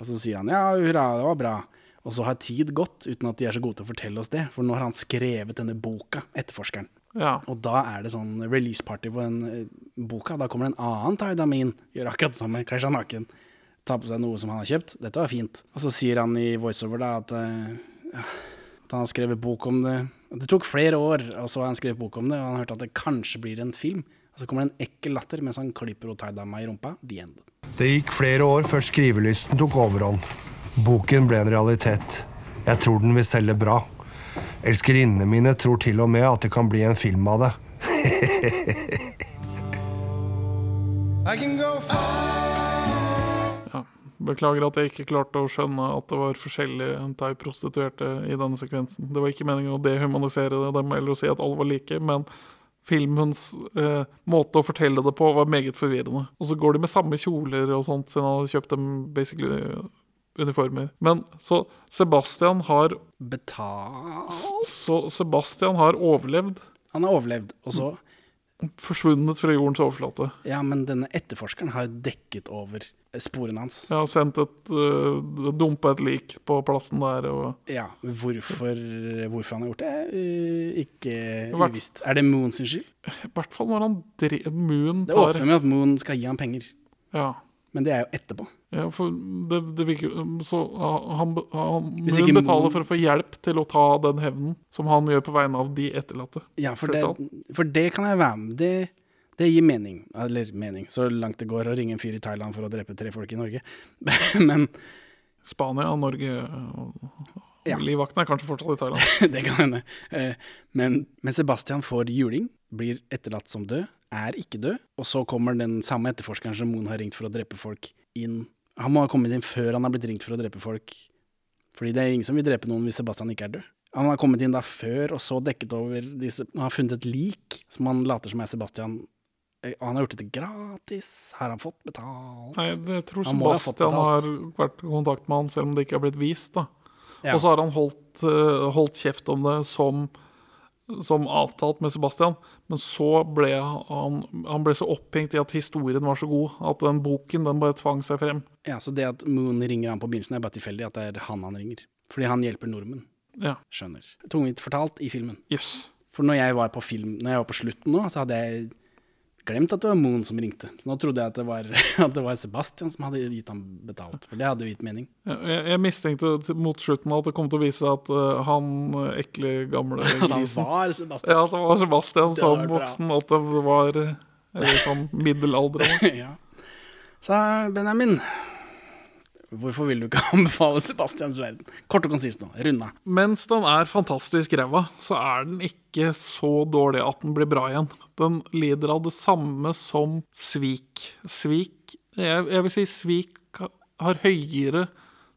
Og så sier han ja, hurra, det var bra. Og så har tid gått uten at de er så gode til å fortelle oss det, for nå har han skrevet denne boka, etterforskeren.
Ja.
Og da er det sånn release-party på den eh, boka. Da kommer det en annen Taidamin, gjør akkurat det samme, kler seg naken. Tar på seg noe som han har kjøpt. Dette var fint. Og så sier han i voiceover da at, eh, ja, at han har skrevet bok om det. Det tok flere år, og så har han skrevet bok om det, og han hørte at det kanskje blir en film. Og så kommer det en ekkel latter mens han klipper henne Taidama i rumpa. The end.
Det gikk flere år før skrivelysten tok overhånd. Boken ble en realitet. Jeg tror den vil selge bra. Elskerinnene mine tror til og med at det kan bli en film av det. I can go
ja. Beklager at jeg ikke klarte å skjønne at det var forskjellige thai-prostituerte i denne sekvensen. Det var ikke meningen å dehumanisere dem eller å si at alle var like, men filmens eh, måte å fortelle det på var meget forvirrende. Og så går de med samme kjoler og sånt, siden han har kjøpt dem basically eh, uniformer. Men så Sebastian har
Betal
Så Sebastian har overlevd.
Han har overlevd, og så
forsvunnet fra jordens overflate.
Ja, men denne etterforskeren har dekket over sporene hans.
Jeg har sendt et uh, Dumpa et lik på plassen der. Og
Ja, hvorfor, hvorfor han har gjort det, er eh, ikke
Hvert-
uvisst. Er det Moon sin skyld?
I hvert fall når han drev Moon
Det åpner
tar
med at Moon skal gi ham penger,
ja.
men det er jo etterpå.
ja, for det, det virker Så ah, han, be- han
Hvis
Moon
ikke Moon-
betaler for å få hjelp til å ta den hevnen som han gjør på vegne av de etterlatte.
Ja, for det, for det kan jeg være med Det, det gir mening. Eller mening, så langt det går å ringe en fyr i Thailand for å drepe tre folk i Norge. Men
Spania, Norge og
Ja.
Livvakten er kanskje fortsatt i Thailand.
det kan hende. Eh, Men, men Sebastian får juling, blir etterlatt som død, er ikke død, og så kommer den samme etterforskeren som Moon har ringt for å drepe folk, inn. Han må ha kommet inn før han har blitt ringt for å drepe folk, fordi det er ingen som vil drepe noen hvis Sebastian ikke er død. Han har kommet inn da før, og så dekket over disse Han har funnet et lik som han later som er Sebastian. Eh, Og han har gjort dette gratis. Har han fått betalt?
Nei, det tror
Han må ha fått
Sebastian
betalt.
har vært i kontakt med han, selv om det ikke har blitt vist. da.
Ja.
Og så har han holdt, eh, holdt kjeft om det som, som avtalt med Sebastian. Men så ble han, han ble så opphengt i at historien var så god at den boken den bare tvang seg frem.
Ja, Så det at Moon ringer han på begynnelsen, er bare tilfeldig at det er han han ringer. Fordi han hjelper nordmenn.
Ja,
Skjønner. Tungvint fortalt i filmen.
jøss.
For når jeg var på film, når jeg var på slutten nå, så hadde jeg glemt at det var Moon som ringte. Nå trodde jeg at det var, at det var Sebastian som hadde gitt ham betalt, for det hadde jo gitt mening.
Ja, Jeg, jeg mistenkte til- mot slutten at det kom til å vise seg at eh, han eh, ekle, gamle
At han
grisen
var Sebastian.
Ja, at det var Sebastian
Det hadde
som
vært bra.
voksen, at det var eh, eller sånn middelaldrende.
Ja. Så Benjamin, hvorfor vil du ikke anbefale Sebastians verden? Kort og konsist nå, runda.
Mens den er fantastisk ræva, så er den ikke så dårlig at den blir bra igjen. Den lider av det samme som svik. Svik Jeg, jeg vil si svik ha- har høyere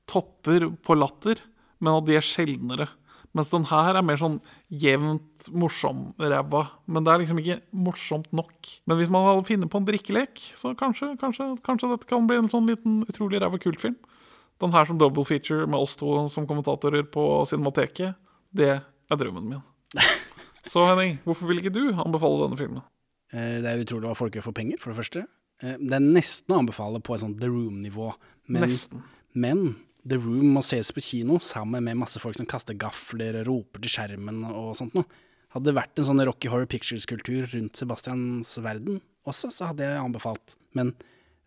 topper på latter, men at de er sjeldnere. Mens den her er mer sånn jevnt morsom-ræva. Men det er liksom ikke morsomt nok. Men hvis man hadde funnet på en drikkelek, så kanskje, kanskje, kanskje dette kan bli en sånn liten utrolig ræva kultfilm. Den her som double feature med oss to som kommentatorer på Cinemateket, det er drømmen min. Så Henning, hvorfor vil ikke du anbefale denne filmen?
Eh, Det er utrolig hva folk gjør for penger, for det første. Eh, Det er nesten å anbefale på et sånt The Room-nivå. Men,
Nesten.
men The Room må ses på kino sammen med masse folk som kaster gafler og roper til skjermen og sånt noe. Hadde det vært en sånn Rocky Horror Pictures-kultur rundt Sebastians verden også, så hadde jeg anbefalt. Men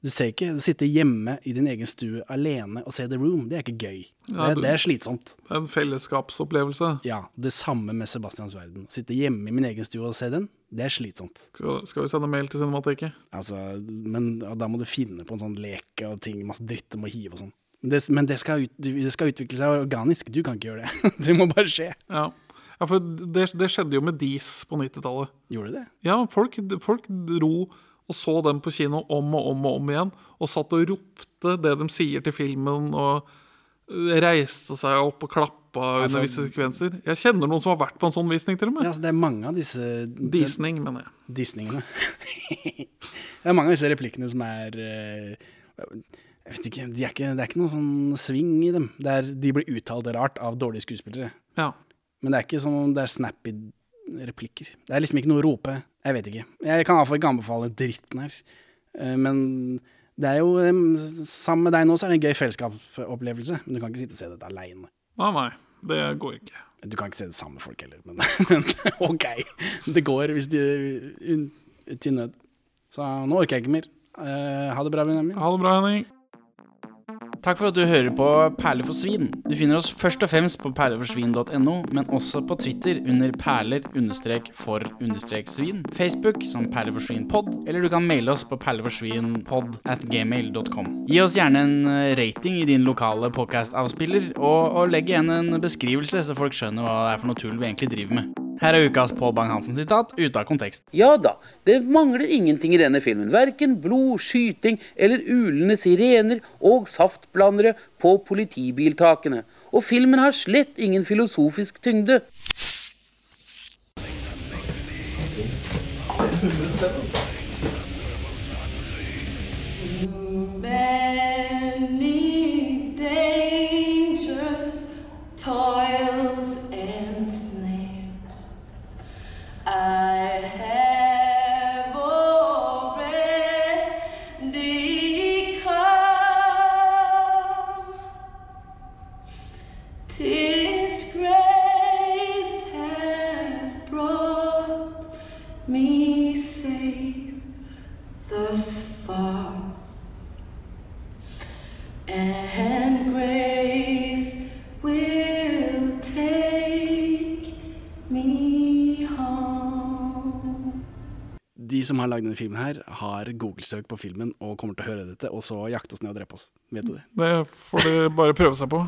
du ser ikke, du sitter hjemme i din egen stue alene og ser The Room, det er ikke gøy.
Ja,
det,
du-
det er slitsomt.
Det er En fellesskapsopplevelse.
Ja, det samme med Sebastians verden. Sitte hjemme i min egen stue og se den, det er slitsomt.
Skal skal vi sende mail til Cinemateket?
Altså, men ja, da må du finne på en sånn lek og ting, masse dritt du må hive og sånn. Men Det, men det skal, ut, det skal utvikle seg organisk, du kan ikke gjøre det. Det må bare skje.
Ja. ja, for det, det skjedde jo med Dis på 90-tallet.
Gjorde du det?
Ja, folk, folk dro og så den på kino om og om og om igjen, og satt og ropte det de sier til filmen, og reiste seg opp og klappa
Altså-
under visse sekvenser. Jeg kjenner noen som har vært på en sånn visning, til
Ja,
og med.
altså, det er mange av disse de-
Disning, mener jeg.
disningene. det er mange av disse replikkene som er eh, jeg vet ikke, de er ikke, Det er ikke noe sånn sving i dem. Det er, de blir uttalt rart av dårlige skuespillere.
Ja.
Men det er ikke sånn det er snappy replikker. Det er liksom ikke noe å rope. Jeg vet ikke. Jeg kan iallfall ikke anbefale dritten her. Eh, Men det er jo eh, Sammen med deg nå så er det en gøy fellesskapsopplevelse, men du kan ikke sitte og se dette aleine.
Nei, nei, det går ikke.
Du kan ikke se det sammen med folk heller, men, men OK. Det går hvis du un- til nød. Så nå orker jeg ikke mer. Eh, ha det bra, Benjamin.
Ha det bra, Henning.
Takk for at du hører på Perler for svin. Du finner oss først og fremst på perleforsvin.no, men også på Twitter under perler-for-svin, Facebook som perleforsvinpod, eller du kan maile oss på perleforsvinpod at gmail.com. Gi oss gjerne en eh, rating i din lokale podcast-avspiller, og, og legg igjen en beskrivelse, så folk skjønner hva det er for noe tull vi egentlig driver med. Her er ukas Pål Bang-Hansen-sitat ute av kontekst.
Ja da, det mangler ingenting i denne filmen. Verken blod, skyting eller ulende sirener og saftblandere på politibiltakene. Og filmen har slett ingen filosofisk tyngde.
Many dangers, toils, and snares I have. me safe thus far. And grace will take me home.
De som har lagd denne filmen her, har Google-søk på filmen og kommer til å høre dette, og så jakte oss ned og drepe oss. Vet du det?
Det får de bare prøve seg på.